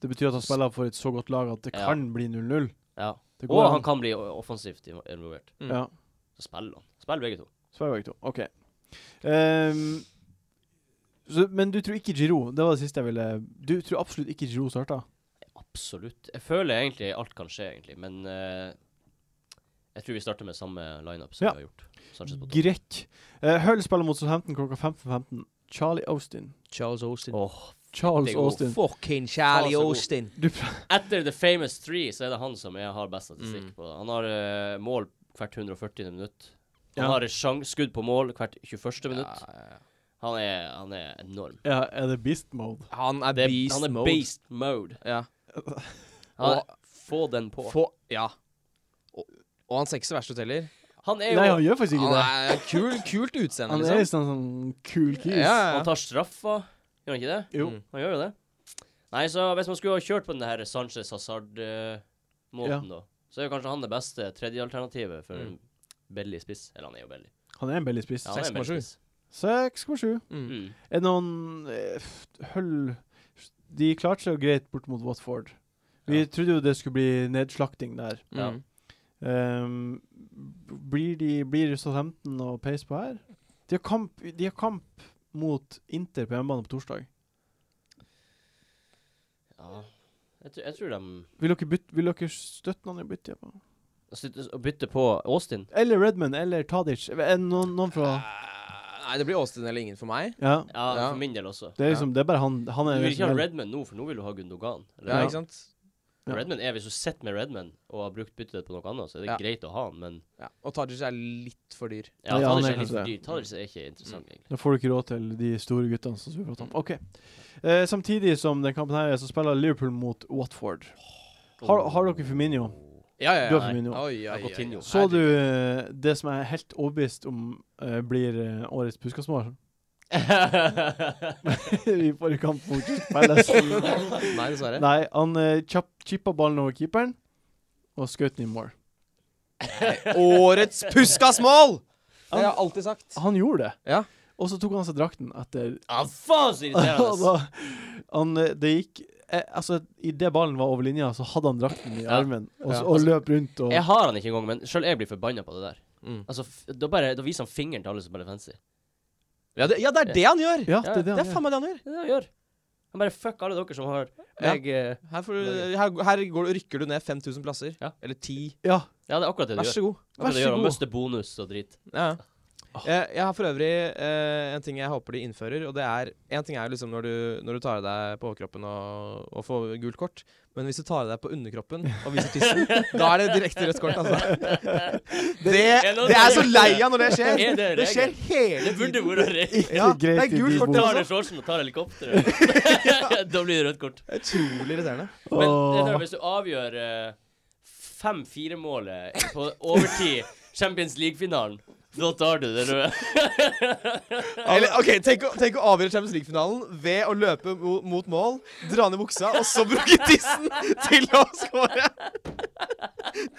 Speaker 1: Det betyr at han spiller for et så godt lag at det
Speaker 2: Ja.
Speaker 1: kan bli 0-0.
Speaker 2: Ja.
Speaker 1: Det
Speaker 2: Og
Speaker 1: går
Speaker 2: han
Speaker 1: an.
Speaker 2: kan Mm. bli o- offensivt i- involvert.
Speaker 1: Ja.
Speaker 2: Så spiller han. Spiller begge to.
Speaker 1: Sverre begge to. OK. Ehm, så, men du tror ikke Giro Det var det siste jeg ville Du tror absolutt ikke Giro starta?
Speaker 2: Absolutt. Jeg føler egentlig alt kan skje, egentlig, men eh, jeg tror vi starter med samme lineup som
Speaker 1: Ja.
Speaker 2: vi har gjort. Sanchez på topp.
Speaker 1: Greit. Uh, Hull spiller mot Southampton klokka 15.15. Charlie Austin.
Speaker 3: Charles Austin.
Speaker 2: Åh,
Speaker 1: Charles
Speaker 2: Det er god
Speaker 1: Austin.
Speaker 3: Fucking
Speaker 2: Faen,
Speaker 3: Charlie
Speaker 2: så god.
Speaker 3: Austin.
Speaker 1: Du pr-
Speaker 2: Etter The Famous Three så er det han som er, har best statistikk
Speaker 3: Mm.
Speaker 2: på det. Han har eh, mål hvert 140. minutt. Han
Speaker 1: Ja.
Speaker 2: har sjans, skudd på mål hvert 21. minutt.
Speaker 3: Ja, ja, ja.
Speaker 2: Han er, han er enorm.
Speaker 1: ja, er det beast mode?
Speaker 3: Han er
Speaker 2: Det, er-
Speaker 3: beast
Speaker 2: han er
Speaker 3: mode.
Speaker 2: beast mode.
Speaker 3: Ja.
Speaker 2: Han,
Speaker 3: Og-
Speaker 2: få den på.
Speaker 3: Få Ja. Og, og han ser ikke så verst ut heller.
Speaker 2: Han er jo
Speaker 1: Nei, han
Speaker 2: han,
Speaker 1: gjør faktisk ikke
Speaker 3: Han
Speaker 1: det.
Speaker 3: er kul, kult utseende,
Speaker 1: Han er
Speaker 3: liksom.
Speaker 1: liksom en sånn cool kis.
Speaker 3: Ja, ja, ja.
Speaker 2: tar straffa, gjør han ikke det?
Speaker 1: Jo.
Speaker 3: Mm.
Speaker 2: Han gjør jo det. Nei, så hvis man skulle ha kjørt på den her Sanchez Hazard-måten, da, så er jo kanskje han det beste tredjealternativet for en
Speaker 3: Mm.
Speaker 2: Belly spiss. Eller han er jo Belly.
Speaker 1: Han er en billig spiss.
Speaker 2: Ja, han er en
Speaker 3: 6,7.
Speaker 2: Belly spiss.
Speaker 1: 6,7.
Speaker 3: Mm.
Speaker 2: Mm.
Speaker 1: Er det noen eh, f- Hull De klarte seg jo greit bort mot Watford. Vi
Speaker 2: Ja.
Speaker 1: trodde jo det skulle bli nedslakting der.
Speaker 2: Ja.
Speaker 3: Mm.
Speaker 1: Ehm, b- blir de Blir Southampton og Pace på her? De har kamp, de har kamp mot Inter på hjemmebane på torsdag.
Speaker 2: Ja. Jeg, tr- jeg tror de
Speaker 1: Vil dere, bytte, vil dere støtte noen i byttet? Ja?
Speaker 2: slutter å bytte på Austin.
Speaker 1: Eller Redman eller Tadic. Er det noen, noen fra
Speaker 3: Eh, Nei, det blir Austin eller ingen for meg.
Speaker 1: Ja.
Speaker 2: Ja,
Speaker 3: Ja.
Speaker 2: for min del også.
Speaker 1: Det er liksom Det er bare han. Han
Speaker 2: Ah. Du
Speaker 1: er
Speaker 2: vil ikke ha
Speaker 1: liksom-
Speaker 2: Redman nå, for nå vil du ha Gundogan. Eller?
Speaker 3: Ja,
Speaker 1: Ja.
Speaker 3: ikke sant?
Speaker 1: Ja.
Speaker 2: Redman er, Hvis du sitter med Redman og har brukt byttet ditt på noe annet, så er det
Speaker 3: Ja.
Speaker 2: greit å ha han, men
Speaker 3: Ja. Og Tajic er litt for dyr.
Speaker 2: ja,
Speaker 1: Ja, han
Speaker 2: Tadic
Speaker 1: er
Speaker 2: er litt
Speaker 1: kanskje
Speaker 2: for dyr.
Speaker 1: det. Mm.
Speaker 2: Tadic er ikke interessant, egentlig.
Speaker 1: Da får du ikke råd til de store guttene som vi prater om. OK. Eh, samtidig som den kampen her er, så spiller Liverpool mot Watford. Har, har dere Firmino?
Speaker 3: Ja, ja,
Speaker 1: Du
Speaker 3: ja.
Speaker 1: har Firmino.
Speaker 3: Oi, oi, oi, oi.
Speaker 2: Coutinho.
Speaker 1: Så du eh, det som jeg er helt overbevist om eh, blir eh, årets Puskasmål i forrige kamp mot Crystal Palace?
Speaker 3: Nei, dessverre.
Speaker 1: Nei, han eh, kjapp, chippa ballen over keeperen og skjøt den i mål.
Speaker 3: Årets Puskas-mål! Det har jeg alltid sagt.
Speaker 1: Han gjorde det.
Speaker 3: Ja.
Speaker 1: Og så tok han seg drakten etter
Speaker 2: Ja, faen så
Speaker 1: Og
Speaker 2: irriterende!
Speaker 1: da, han, eh, Det gikk eh, Altså, idet ballen var over linja, så hadde han drakten i
Speaker 2: Ja.
Speaker 1: armen og, s-
Speaker 3: Ja.
Speaker 1: og løp rundt og
Speaker 2: Jeg har han ikke engang, men sjøl jeg blir forbanna på det der.
Speaker 3: Mm.
Speaker 2: Altså, f da, bare, da viser han fingeren til alle som spiller fancy.
Speaker 3: Ja det, ja, det er det han gjør!
Speaker 1: Ja, det er det
Speaker 3: Det
Speaker 1: han
Speaker 3: er
Speaker 1: gjør.
Speaker 3: faen meg det han gjør.
Speaker 2: Det er det han gjør. Han bare fuck alle dere som har meg eh,
Speaker 3: Her, får, du- her, her går, du- rykker du ned 5000 plasser.
Speaker 2: Ja.
Speaker 3: Eller 10.
Speaker 1: Ja,
Speaker 2: Ja, det er akkurat det du
Speaker 3: Vær
Speaker 2: gjør.
Speaker 3: så god.
Speaker 2: Akkurat det
Speaker 1: vær
Speaker 2: du
Speaker 1: så
Speaker 2: gjør. Han
Speaker 1: god.
Speaker 2: mister bonus og drit.
Speaker 3: Ja. Jeg, jeg har for øvrig eh, en ting jeg håper de innfører, og det er En ting er liksom når du, når du tar av deg på overkroppen og, og får gult kort, men hvis du tar av deg på underkroppen og viser tissen, da er det direkte rødt kort, altså. Det, det er jeg så lei av når det skjer!
Speaker 2: Er det
Speaker 3: Det skjer
Speaker 2: regel?
Speaker 3: hele
Speaker 2: Det burde
Speaker 3: tiden.
Speaker 2: vært regel.
Speaker 1: Ikke
Speaker 3: Ja, det er
Speaker 1: greit i
Speaker 3: gult
Speaker 1: de
Speaker 3: kort,
Speaker 1: bordene.
Speaker 3: altså. det
Speaker 2: Tar ned shortsen og tar helikopteret. da blir det rødt kort.
Speaker 3: Utrolig irriterende.
Speaker 2: Men det er
Speaker 1: Åh.
Speaker 2: der, hvis du avgjør eh, 5-4-målet på overtid, Champions League-finalen, da tar du det røde.
Speaker 3: Eller, ok, tenk, å- tenk å avgjøre Champions League-finalen ved å løpe mo mot mål, dra ned buksa, og så bruke tissen til å score!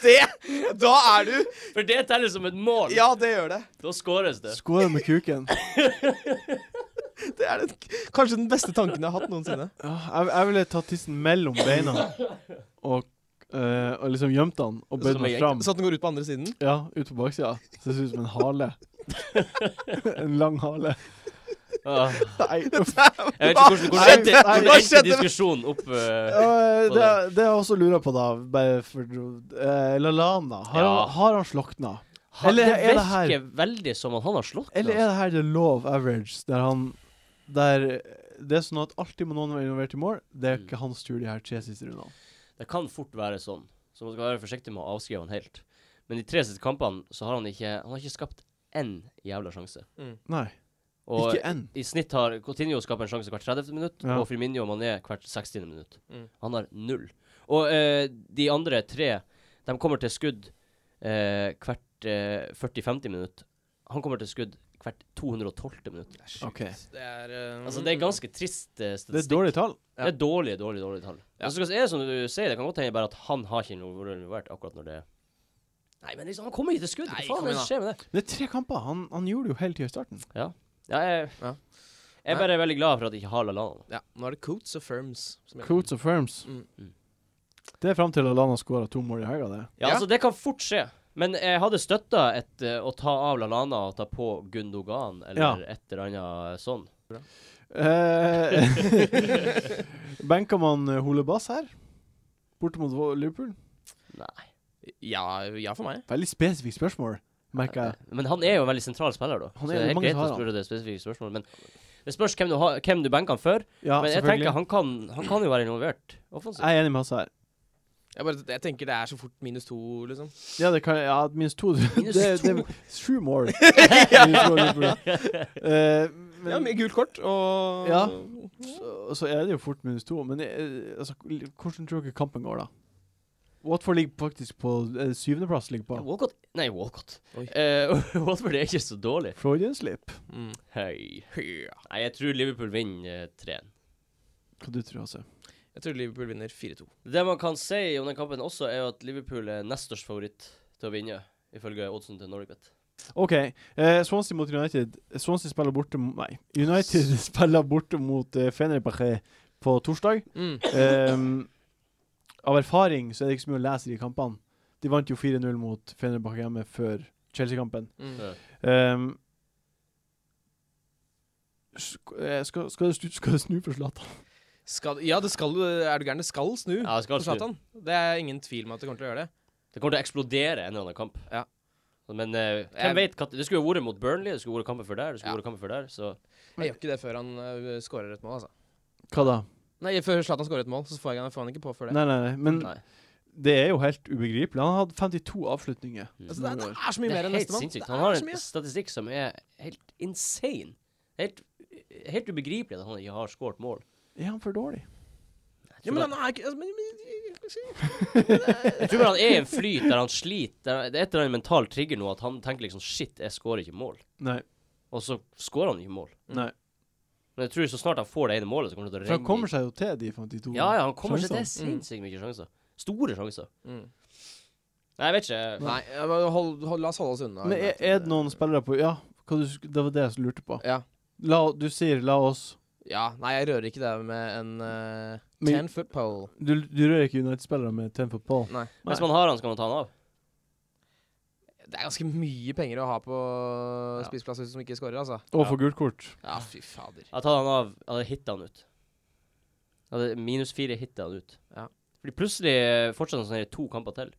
Speaker 3: Det Da er du
Speaker 2: For det teller som et mål.
Speaker 3: Ja, det gjør det.
Speaker 2: Da skåres det.
Speaker 1: Skål med kuken.
Speaker 3: Det er den, kanskje den beste tanken jeg har hatt noensinne.
Speaker 1: Ja, jeg, jeg ville tatt tissen mellom beina og, eh, og liksom gjemt den og bøyd
Speaker 2: Som
Speaker 1: den
Speaker 2: en
Speaker 1: fram.
Speaker 3: Så at den går ut på andre siden.
Speaker 1: Ja, ut på baksida. Så det ser ut som en hale. en lang hale.
Speaker 2: Ah.
Speaker 1: Nei, uff.
Speaker 2: Jeg vet ikke hvordan, hvordan,
Speaker 1: Nei,
Speaker 2: endte-
Speaker 1: nei,
Speaker 2: hvordan
Speaker 1: hva
Speaker 2: endte
Speaker 3: skjedde?
Speaker 2: diskusjonen opp eh,
Speaker 1: Eh, det,
Speaker 2: det.
Speaker 1: det jeg også lurer på, da bare for, eh, Lalana, har,
Speaker 2: Ja.
Speaker 1: han, har han slokna?
Speaker 2: han-
Speaker 1: Eller
Speaker 2: Det
Speaker 1: er det her-
Speaker 2: virker veldig som at han har slått altså.
Speaker 1: Eller er det her the law of average, der han Der det er sånn at alltid må noen være involvert i mål? Det
Speaker 2: Mm.
Speaker 1: er ikke hans tur de her tre siste rundene.
Speaker 2: Det kan fort være sånn, så man skal være forsiktig med å avskrive han helt. Men de tre siste kampene så har han ikke Han har ikke skapt én jævla sjanse.
Speaker 1: Nei,
Speaker 2: Og
Speaker 1: ikke enn.
Speaker 2: i snitt har Coutinho skaper en sjanse hvert 30. minutt,
Speaker 1: Ja.
Speaker 2: og Firmino og Mané hvert 60. minutt.
Speaker 3: Mm.
Speaker 2: Han har null. Og eh, de andre tre, de kommer til skudd eh, hvert eh, 40-50 minutt. Han kommer til skudd hvert 212. minutt.
Speaker 1: OK.
Speaker 3: Det er, um,
Speaker 2: Altså, det er ganske trist eh,
Speaker 1: Det
Speaker 2: statistikk.
Speaker 1: er dårlige tall.
Speaker 2: Det er dårlige, dårlige, dårlige tall. Men så skal- er det som du sier, det kan godt hende bare at han har ikke noe hvor involvert akkurat når det Nei, men liksom, han kommer ikke til skudd. Hva
Speaker 3: Nei,
Speaker 2: faen
Speaker 3: kom
Speaker 2: er det
Speaker 3: igjen
Speaker 2: som skjer med det?
Speaker 1: Det er tre kamper. Han, han gjorde det jo hele tida i starten.
Speaker 2: Ja, jeg,
Speaker 3: Ja.
Speaker 2: jeg er bare veldig glad for at jeg ikke har Lallana.
Speaker 3: Ja, nå er det Coats og Firms. som gjelder.
Speaker 1: Coots og firms.
Speaker 3: Mm.
Speaker 1: Det er fram til Alana skåra to mål i helga, det.
Speaker 2: Ja,
Speaker 3: Ja.
Speaker 2: altså, det kan fort skje. Men jeg hadde støtta et eh, å ta av Lallana og ta på Gundogan, eller et eller annet sånn.
Speaker 1: Eh, Benka man Holebass her? Borte mot Vo- Liverpool?
Speaker 2: Nei.
Speaker 3: Ja, ja for meg.
Speaker 1: Veldig spesifikt spørsmål, merker jeg.
Speaker 2: Eh, Men han er jo en veldig sentral spiller, da.
Speaker 1: Han
Speaker 2: så
Speaker 1: er
Speaker 2: det
Speaker 1: jo
Speaker 2: er helt
Speaker 1: mange
Speaker 2: greit å
Speaker 1: tar han.
Speaker 2: spørre det spesifikke spørsmålet. Men det spørs hvem du, har- hvem du benker han for.
Speaker 1: Ja,
Speaker 2: men jeg
Speaker 1: selvfølgelig.
Speaker 2: tenker han kan, han kan jo være involvert offensivt.
Speaker 1: Jeg er enig med Hasse her.
Speaker 3: Jeg, bare, jeg tenker det er så fort minus to, liksom.
Speaker 1: Ja, det kan Ja, minst to.
Speaker 2: Minus
Speaker 1: det, det,
Speaker 2: to.
Speaker 1: sju mål. uh, men
Speaker 3: Ja, med gult kort og
Speaker 1: Ja. så, så er det jo fort minus to. Men eh, altså, hvordan tror dere kampen går, da? Watford ligger faktisk på eh, syvendeplass. ligger på
Speaker 2: Walcott Nei, Walcott.
Speaker 3: Oi.
Speaker 2: Eh, Watford er ikke så dårlig.
Speaker 1: Freudian slip.
Speaker 3: Mm.
Speaker 2: Hei. Nei, jeg tror Liverpool vinner eh, 3-1.
Speaker 1: Hva du tror altså. Hasse?
Speaker 3: Jeg tror Liverpool vinner 4-2.
Speaker 2: Det man kan si om den kampen også, er jo at Liverpool er nest størst favoritt til å vinne, ifølge oddsen til Norwegian.
Speaker 1: OK. eh, Swansea mot United. Swansea spiller borte mot Nei. United spiller borte mot uh, Fenerbahçe på torsdag.
Speaker 3: Mm.
Speaker 1: Ehm, av erfaring så er det ikke så mye å lese i de kampene. De vant jo 4-0 mot Fenerbahçe hjemme før Chelsea-kampen.
Speaker 3: Mm.
Speaker 1: Ehm, sk- eh, skal, skal, det snu, skal det snu for Zlatan?
Speaker 3: Skal, ja, det skal Er du gæren? Det skal snu
Speaker 2: Ja, det skal
Speaker 3: for
Speaker 2: snu.
Speaker 3: Zlatan. Det er ingen tvil om at det kommer til å gjøre det.
Speaker 2: Det kommer til å eksplodere en eller annen kamp.
Speaker 3: Ja.
Speaker 2: Men eh, hvem
Speaker 3: Jeg-
Speaker 2: vet hva- Det skulle jo vært mot Burnley, det skulle vært kampen før der, det skulle
Speaker 3: Ja.
Speaker 2: vært kampen før der, så
Speaker 3: Jeg gjør ikke det før han øh, scorer et mål, altså.
Speaker 1: Hva da?
Speaker 3: Nei, før Zlatan scorer et mål, så får jeg får han ikke på før det.
Speaker 1: Nei, nei, nei. Men
Speaker 2: Nei.
Speaker 1: det er jo helt ubegripelig. Han har hatt 52 avslutninger.
Speaker 3: Altså, det, er,
Speaker 1: Noen år.
Speaker 3: det er så mye
Speaker 2: Mm. Det
Speaker 3: mer
Speaker 2: er
Speaker 3: enn
Speaker 2: helt
Speaker 3: nestemann.
Speaker 2: sinnssykt.
Speaker 3: Det
Speaker 2: Han har
Speaker 3: er så
Speaker 2: en
Speaker 3: mye.
Speaker 2: statistikk som er helt insane. Helt, helt ubegripelig at han ikke har skåret mål.
Speaker 1: Er han for dårlig?
Speaker 3: Ja, men han er ikke altså, men, men,
Speaker 2: Jeg tror bare han er i en flyt der han sliter. Der- Det er et eller annet mental trigger nå at han tenker liksom Shit, jeg skårer ikke mål.
Speaker 1: Nei.
Speaker 2: Og så skårer han ikke mål.
Speaker 1: nei.
Speaker 2: Men jeg tror så snart han får det ene målet, så kommer det til å
Speaker 1: For han
Speaker 2: renne
Speaker 1: kommer seg jo til de 52
Speaker 2: Ja, ja, han kommer seg til
Speaker 1: sjansene.
Speaker 3: Mm.
Speaker 2: sinnssykt mye sjanser. Store sjanser.
Speaker 3: Mm.
Speaker 2: Nei, jeg vet ikke.
Speaker 3: Eh, Nei, ja, men hold, hold, la oss holde oss unna.
Speaker 1: Men er, er det noen spillere på Ja, hva du, sk- det var det jeg lurte på.
Speaker 3: Ja.
Speaker 1: La, du sier 'la oss'
Speaker 3: ja. Nei, jeg rører ikke det med en øh,
Speaker 1: Men-
Speaker 3: ten foot pole.
Speaker 1: Du, du rører ikke United-spillere med 10 football.
Speaker 3: Nei.
Speaker 2: Hvis man har han, så kan man ta han av.
Speaker 3: Det er ganske mye penger å ha på
Speaker 2: Ja.
Speaker 3: spiseplass hvis de ikke scorer, altså.
Speaker 1: Og for gult kort.
Speaker 3: Ja, fy fader.
Speaker 2: Jeg tar han av, jeg hadde hitta han ut. Jeg hadde minus fire hitta han ut.
Speaker 3: Ja.
Speaker 2: Fordi plutselig eh, fortsatte han sånn her to kamper til.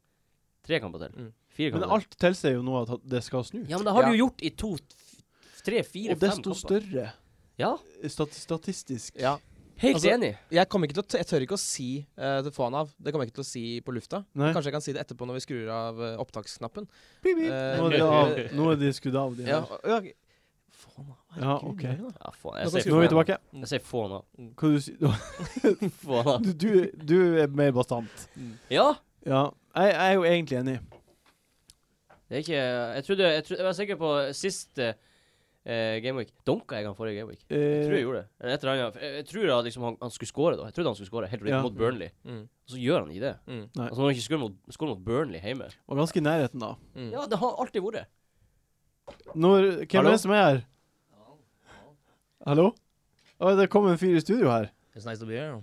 Speaker 2: Tre kamper til.
Speaker 3: Mm.
Speaker 2: Fire
Speaker 1: Men
Speaker 2: kamper til.
Speaker 1: alt tilsier jo nå at ha- det skal snu.
Speaker 2: Ja, men det har
Speaker 3: Ja.
Speaker 2: du jo gjort i to, f- tre, fire,
Speaker 1: og
Speaker 2: fem
Speaker 1: desto
Speaker 2: kamper.
Speaker 1: større
Speaker 2: Ja,
Speaker 1: stat statistisk.
Speaker 3: Ja.
Speaker 2: helt
Speaker 3: Altså-
Speaker 2: enig.
Speaker 3: Jeg kommer ikke til å t Jeg tør ikke å si eh, til å få han av. Det kommer jeg ikke til å si på lufta.
Speaker 1: Nei.
Speaker 3: Kanskje jeg kan si det etterpå når vi skrur av eh, opptaksknappen.
Speaker 1: Pip, pip.
Speaker 3: Eh,
Speaker 1: nå, er de av, nå er de skrudd av, de
Speaker 3: Ja,
Speaker 1: her.
Speaker 3: ja, er ok. Få han av.
Speaker 1: Ja,
Speaker 3: Herregud,
Speaker 1: ok.
Speaker 3: Jørgen, da.
Speaker 2: Ja, faen.
Speaker 3: Nå
Speaker 2: Jeg
Speaker 3: kan
Speaker 2: sier
Speaker 1: Nå er vi
Speaker 2: få han av.
Speaker 1: tilbake.
Speaker 2: Jeg sier få han av.
Speaker 1: Hva du sier
Speaker 2: Mm. Få han av.
Speaker 1: du, du, du er mer bastant.
Speaker 2: Ja.
Speaker 1: Ja. Jeg, jeg er jo egentlig enig.
Speaker 2: Det er ikke Jeg trodde Jeg, trodde, jeg var sikker på sist eh, eh, Gameweek. Dunka jeg han forrige Gameweek?
Speaker 1: Eh,
Speaker 2: Jeg tror jeg gjorde det. Eller et eller annet. Jeg, jeg tror da liksom han, han skulle score, da. Jeg trodde han skulle score helt riktig
Speaker 1: Ja.
Speaker 2: mot Burnley.
Speaker 3: Mm,
Speaker 2: Og så gjør han ikke det.
Speaker 3: mm,
Speaker 1: Nei.
Speaker 2: Altså Når han ikke scorer mot, scorer mot Burnley hjemme
Speaker 1: Var ganske i nærheten, da.
Speaker 3: mm.
Speaker 2: Ja, det har alltid vært.
Speaker 1: Når, hvem
Speaker 2: Hallo?
Speaker 1: er det som er her? Hallo? Å, det kom en fyr i studio her.
Speaker 5: It's nice to be here.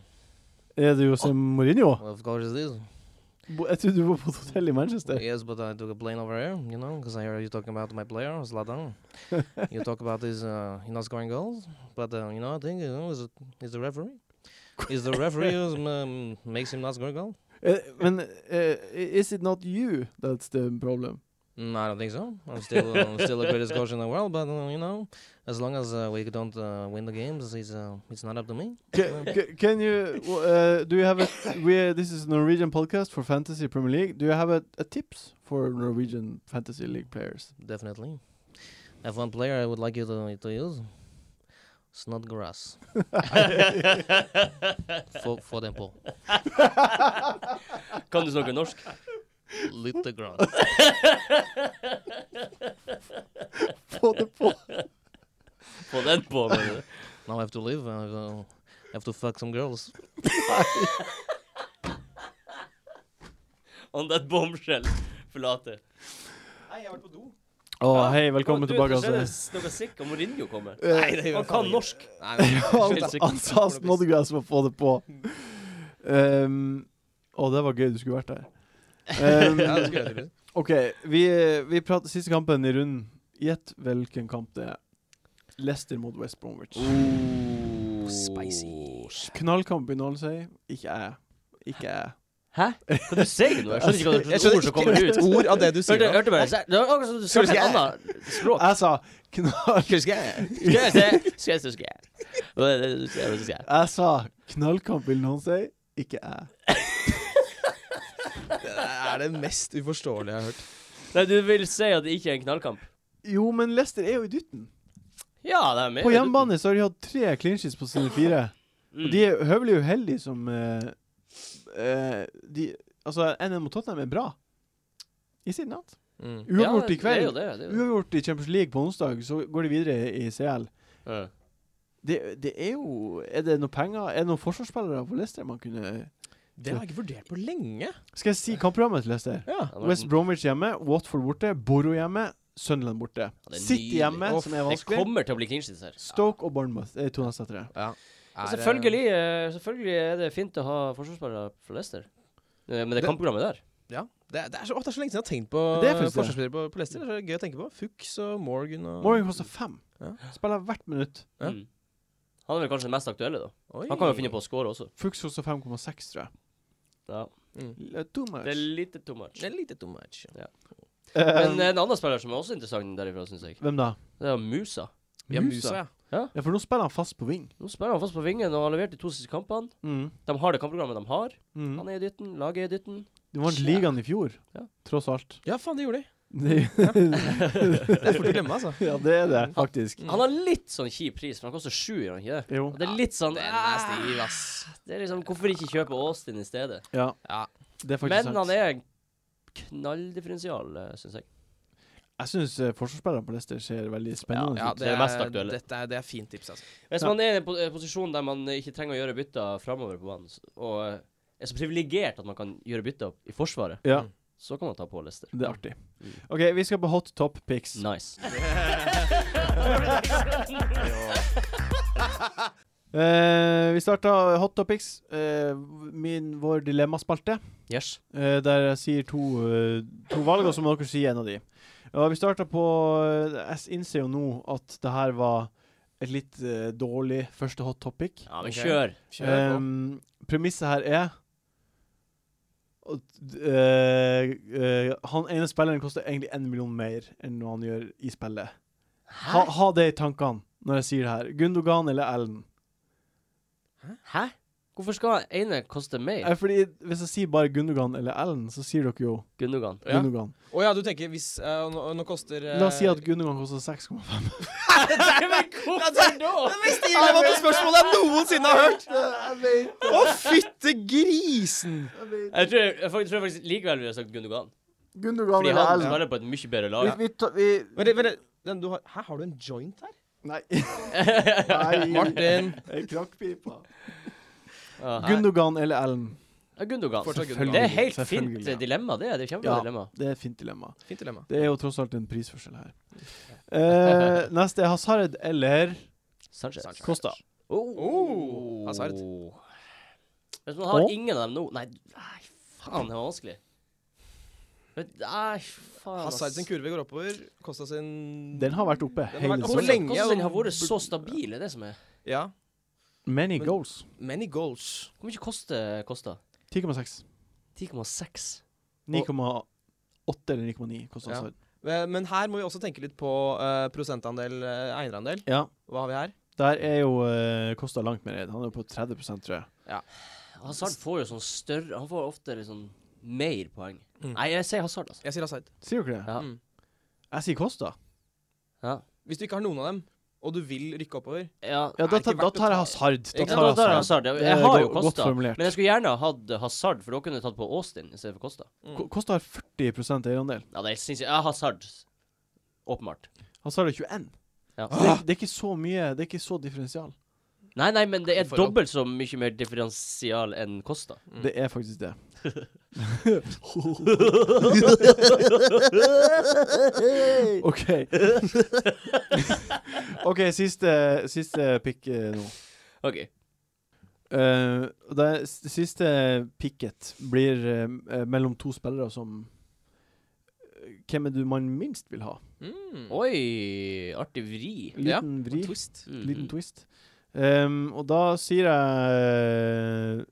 Speaker 1: Er det Jose Mourinho?
Speaker 5: Well, of course it is.
Speaker 1: Bo- Jeg trodde du var på et hotell i Manchester.
Speaker 5: Yes, but I took a plane over here, you know, because I heard you talking about my player, Zlatan. you talk about his, uh, he not scoring goals, but, uh, you know, I think, you know, is it, is the referee? Is the referee who's, um, makes him not score a goal?
Speaker 1: Eh, Men eh, is it not you that's the problem?
Speaker 5: Mm, I don't think so. I'm still, uh, still the greatest coach in the world, but, uh, you know, as long as uh, we don't uh, win the games, it's, uh, it's not up to me.
Speaker 1: Can, can you w- uh, do you have a we this is Norwegian podcast for fantasy Premier League. Do you have a, a tips for Norwegian fantasy league players?
Speaker 5: Definitely. I have one player I would like you to, to use. Snodgrass. for, for example,
Speaker 2: Kan du snakke norsk?
Speaker 5: little grass.
Speaker 1: Få det på.
Speaker 2: Få den på, mener du?
Speaker 5: Now I have to leave. I have, uh, have to fuck some girls.
Speaker 2: On that bombshell. forlate.
Speaker 3: Nei, jeg har vært på do.
Speaker 1: Å, hei, velkommen tilbake. altså. Eh,
Speaker 2: altså. Noe sikk om Mourinho kommer.
Speaker 1: Nei,
Speaker 2: Han kan norsk.
Speaker 3: Nei, nei,
Speaker 1: Han
Speaker 3: altså,
Speaker 2: Helt sikkert.
Speaker 1: han sa Snodgrass må få det på. Um, å, det var gøy. Du skulle vært der. Um,
Speaker 3: Ja, det skulle jeg tydeligvis.
Speaker 1: OK, vi, vi prater siste kampen i runden. Gjett hvilken kamp det er. Leicester mot West Bromwich.
Speaker 5: Spicy.
Speaker 1: Knallkamp i Nålsøy. Ikke jeg. Ikke jeg.
Speaker 2: Hæ? Hva du sier du nå? Jeg skjønner ikke hva
Speaker 3: Jeg
Speaker 2: slags ord
Speaker 3: skjønner
Speaker 2: som kommer
Speaker 3: ikke
Speaker 2: ut.
Speaker 3: et ord av det du sier.
Speaker 2: Hørte,
Speaker 3: nå.
Speaker 2: hørte
Speaker 3: Altså,
Speaker 2: meg? Det var akkurat som du snakket et annet språk.
Speaker 1: Jeg sa knall...
Speaker 3: Husker jeg?
Speaker 2: Skal jeg se, skal jeg se, skal jeg. Hva er det du sier, hva er det du sier?
Speaker 1: Jeg sa knallkamp i Nålsøy. Ikke jeg.
Speaker 3: Det er det mest uforståelige jeg har hørt.
Speaker 2: Nei, du vil si at det ikke er en knallkamp?
Speaker 1: Jo, men Leicester er jo i dytten.
Speaker 2: Ja, det Eh, er Mm. med.
Speaker 1: På hjemmebane så har de hatt tre clean sheets på sine fire. Og de er høvelig uheldige som eh, eh, de, Altså, NM mot Tottenham er bra. I sin natt.
Speaker 3: Mm.
Speaker 1: Uavgjort i
Speaker 2: Ja,
Speaker 1: kveld.
Speaker 2: det er jo det. det, er jo det.
Speaker 1: Uavgjort i Champions League på onsdag, så går de videre i CL.
Speaker 2: Ja.
Speaker 1: Det, det er jo Er det noe penger Er det noen forsvarsspillere på Leicester man kunne
Speaker 3: Det har jeg ikke vurdert på lenge.
Speaker 1: Skal jeg si kampprogrammet til Leicester?
Speaker 3: Ja.
Speaker 2: Ja, sånn. men-
Speaker 1: West Bromwich hjemme, Watford borte, Borough hjemme, Sunderland borte.
Speaker 2: det er
Speaker 1: City
Speaker 2: nydelig.
Speaker 1: hjemme,
Speaker 3: Uff,
Speaker 1: som er
Speaker 2: Det
Speaker 1: vanskelig.
Speaker 2: kommer til å bli clean sheets her.
Speaker 1: Stoke og Bournemouth er to neste tre.
Speaker 2: Men
Speaker 3: Er det-
Speaker 2: Selvfølgelig, eh, selvfølgelig er det fint å ha forsvarsspillere fra Leicester. Eh, Men det
Speaker 3: Det-
Speaker 2: kampprogrammet der
Speaker 3: Ja. Det, er- det, er så, å, det er så lenge siden jeg har tenkt på
Speaker 1: Det er faktisk det.
Speaker 3: forsvarsspillere på, på Leicester. Det er så gøy å tenke på. Fuchs og Morgan og
Speaker 1: Morgan koster fem.
Speaker 3: Ja.
Speaker 1: Spiller hvert minutt.
Speaker 3: Ja. Mm.
Speaker 2: mm. Han er vel kanskje den mest aktuelle, da.
Speaker 3: Oi.
Speaker 2: Han kan jo finne på å score også.
Speaker 1: Fuchs koster 5,6, tror jeg.
Speaker 2: Ja.
Speaker 1: L- Too much.
Speaker 2: Det er litt too much.
Speaker 3: Mm. Det er lite too much.
Speaker 2: Men
Speaker 1: Eh,
Speaker 2: en annen spiller som er også interessant derifra, syns jeg,
Speaker 1: Hvem da?
Speaker 2: det er Musa.
Speaker 3: Ja, Musa, ja.
Speaker 1: Ja, for nå spiller han fast på wing.
Speaker 2: Nå spiller han fast på vingen og har levert de to siste kampene.
Speaker 1: Mm.
Speaker 2: De har det kampprogrammet de har.
Speaker 1: Mm.
Speaker 2: Han er i dytten, laget er i dytten.
Speaker 1: De vant
Speaker 2: Shit.
Speaker 1: ligaen i fjor,
Speaker 2: Ja.
Speaker 1: tross alt.
Speaker 3: Ja, faen, det gjorde de.
Speaker 1: Det-
Speaker 3: Det er fort å glemme, altså.
Speaker 1: ja, det er det, faktisk.
Speaker 2: Han har litt sånn kjip pris, for han koster sju, gjør han ikke det?
Speaker 1: Jo.
Speaker 2: Og det er litt sånn
Speaker 3: Den er
Speaker 2: ah,
Speaker 3: stiv, ass.
Speaker 2: Det er liksom Hvorfor ikke kjøpe Austin i stedet?
Speaker 1: Ja.
Speaker 3: Ja.
Speaker 1: Det er faktisk
Speaker 2: Men
Speaker 1: sant.
Speaker 2: han er knalldifferensial, syns jeg.
Speaker 1: Jeg syns uh, forsvarsspillerne på Leicester ser veldig spennende ut.
Speaker 3: Ja,
Speaker 2: Det er mest aktuelle.
Speaker 3: Dette er, det er fint tips, altså.
Speaker 2: Hvis
Speaker 1: Ja.
Speaker 2: man er i en po- eh, posisjon der man eh, ikke trenger å gjøre bytter framover på banen, s- og eh, er så privilegert at man kan gjøre bytter i Forsvaret,
Speaker 1: Ja,
Speaker 2: så kan man ta på Lester.
Speaker 1: det er artig.
Speaker 2: Mm.
Speaker 1: OK, vi skal på hot top pics.
Speaker 2: Nice.
Speaker 1: Eh, vi starta hot top pics, eh, min, vår dilemmaspalte,
Speaker 2: Yes.
Speaker 1: eh, der jeg sier to, eh, to valg, og så må dere si en av de. Og vi starta på eh, Jeg innser jo nå at det her var et litt eh, dårlig første hot topic.
Speaker 2: Ja, men
Speaker 3: Ok.
Speaker 2: kjør.
Speaker 3: Kjør på.
Speaker 1: Ehm, premisset her er at eh, eh, Han ene spilleren koster egentlig én million mer enn noe han gjør i spillet. Ha, ha det i tankene når jeg sier det her. Gundogan eller Ellen?
Speaker 2: Hæ? Hvorfor skal ene koste mer?
Speaker 1: Eh, fordi Hvis jeg sier bare Gundogan eller Ellen, så sier dere jo
Speaker 2: Gundogan.
Speaker 3: Ja.
Speaker 1: Gundogan.
Speaker 3: Å ja, du tenker hvis eh, nå, nå koster eh,
Speaker 1: La oss si at Gundogan koster 6,5.
Speaker 2: Nei, men hvorfor da?
Speaker 3: Det mest innlevende spørsmålet jeg noensinne har hørt! Å, fytte grisen!
Speaker 2: Jeg tror, jeg, fak- tror faktisk likevel vi har sagt Gundogan.
Speaker 1: Gundogan
Speaker 2: Fordi han spiller på et mye bedre lag.
Speaker 3: Vent, litt, vent, litt. den du har, her har du en joint her?
Speaker 1: Nei.
Speaker 3: Martin.
Speaker 1: Krakkpipa.
Speaker 2: Ja.
Speaker 1: Gundogan eller Ellen?
Speaker 2: Ja, Gundogan.
Speaker 3: Fortsatt Gundogan.
Speaker 2: Det er helt
Speaker 1: Selvfølgelig,
Speaker 2: fint
Speaker 1: ja.
Speaker 2: eh, dilemma, det. er- Det er kjempebra
Speaker 1: Ja.
Speaker 2: dilemma.
Speaker 1: Det er et fint dilemma.
Speaker 3: Fint dilemma.
Speaker 1: Det er jo tross alt en prisforskjell her. Eh, neste er Hazard eller
Speaker 2: Sanchez.
Speaker 1: Costa.
Speaker 3: Oh, Hazard.
Speaker 2: Hvis man har
Speaker 1: Og?
Speaker 2: ingen av dem nå Nei, nei faen, det var vanskelig. Men, Nei, faen. ass.
Speaker 3: Hazard sin kurve går oppover. Kosta sin
Speaker 1: Den har vært oppe
Speaker 3: har
Speaker 1: hele
Speaker 3: vært oppe
Speaker 1: sesongen.
Speaker 3: lenge.
Speaker 2: Hvordan
Speaker 3: og-
Speaker 2: den har vært så stabil, det er det som er.
Speaker 3: Ja.
Speaker 1: Many
Speaker 3: Men-
Speaker 1: goals.
Speaker 3: Many goals.
Speaker 2: Hvor mye koster Kosta?
Speaker 1: 10,6.
Speaker 2: 10,6.
Speaker 1: 9,8 eller 9,9 koster
Speaker 3: Ja.
Speaker 1: Hazard.
Speaker 3: Eh, Men her må vi også tenke litt på eh, prosentandel, eh, eierandel.
Speaker 1: Ja.
Speaker 3: Hva har vi her?
Speaker 1: Der er jo eh, Costa langt mer eid. Han er jo på 30 tror jeg.
Speaker 2: Hazard får jo sånn større Han får ofte litt sånn mer poeng.
Speaker 1: Mm.
Speaker 2: Nei, jeg sier Hazard, altså.
Speaker 3: Jeg sier Hazard.
Speaker 1: Sier dere det?
Speaker 2: Ja.
Speaker 3: Mm.
Speaker 1: Jeg sier Costa.
Speaker 2: Ja.
Speaker 3: Hvis du ikke har noen av dem, og du vil rykke oppover
Speaker 2: ja.
Speaker 1: Ja, da,
Speaker 3: Er det
Speaker 1: tar-
Speaker 3: ikke
Speaker 1: da
Speaker 3: verdt å
Speaker 1: tar jeg
Speaker 3: ta-
Speaker 1: Hazard. Da tar
Speaker 2: Ja,
Speaker 1: jeg
Speaker 2: da er det
Speaker 1: Hazard.
Speaker 2: Hazard. Jeg,
Speaker 1: Det
Speaker 2: jeg
Speaker 1: er
Speaker 2: har
Speaker 1: go-
Speaker 2: jo
Speaker 1: godt
Speaker 2: Kosta,
Speaker 1: formulert.
Speaker 2: men jeg skulle gjerne hatt Hazard, for da kunne jeg tatt på Austin i stedet for Kosta.
Speaker 1: Ko- Costa har 40 eierandel.
Speaker 2: Ja, det er sinnssykt. Ja, Hazard. Åpenbart.
Speaker 1: Hazard har 21.
Speaker 2: Ja.
Speaker 1: Så det, det er ikke så mye. Det er ikke så differensial.
Speaker 2: Nei, nei, men det
Speaker 3: I
Speaker 2: er
Speaker 3: forhold-
Speaker 2: dobbelt så mye mer differensial enn Kosta.
Speaker 1: Det er faktisk det. OK. OK, siste, siste pick eh, nå.
Speaker 2: OK.
Speaker 1: Eh, og det s- siste picket blir eh, m- eh, mellom to spillere som eh, Hvem er du man minst vil ha?
Speaker 3: Mm.
Speaker 2: Oi, artig vri.
Speaker 1: Liten
Speaker 3: Ja,
Speaker 1: vri.
Speaker 3: Twist.
Speaker 2: Mm.
Speaker 1: Liten twist. Ehm, og da sier jeg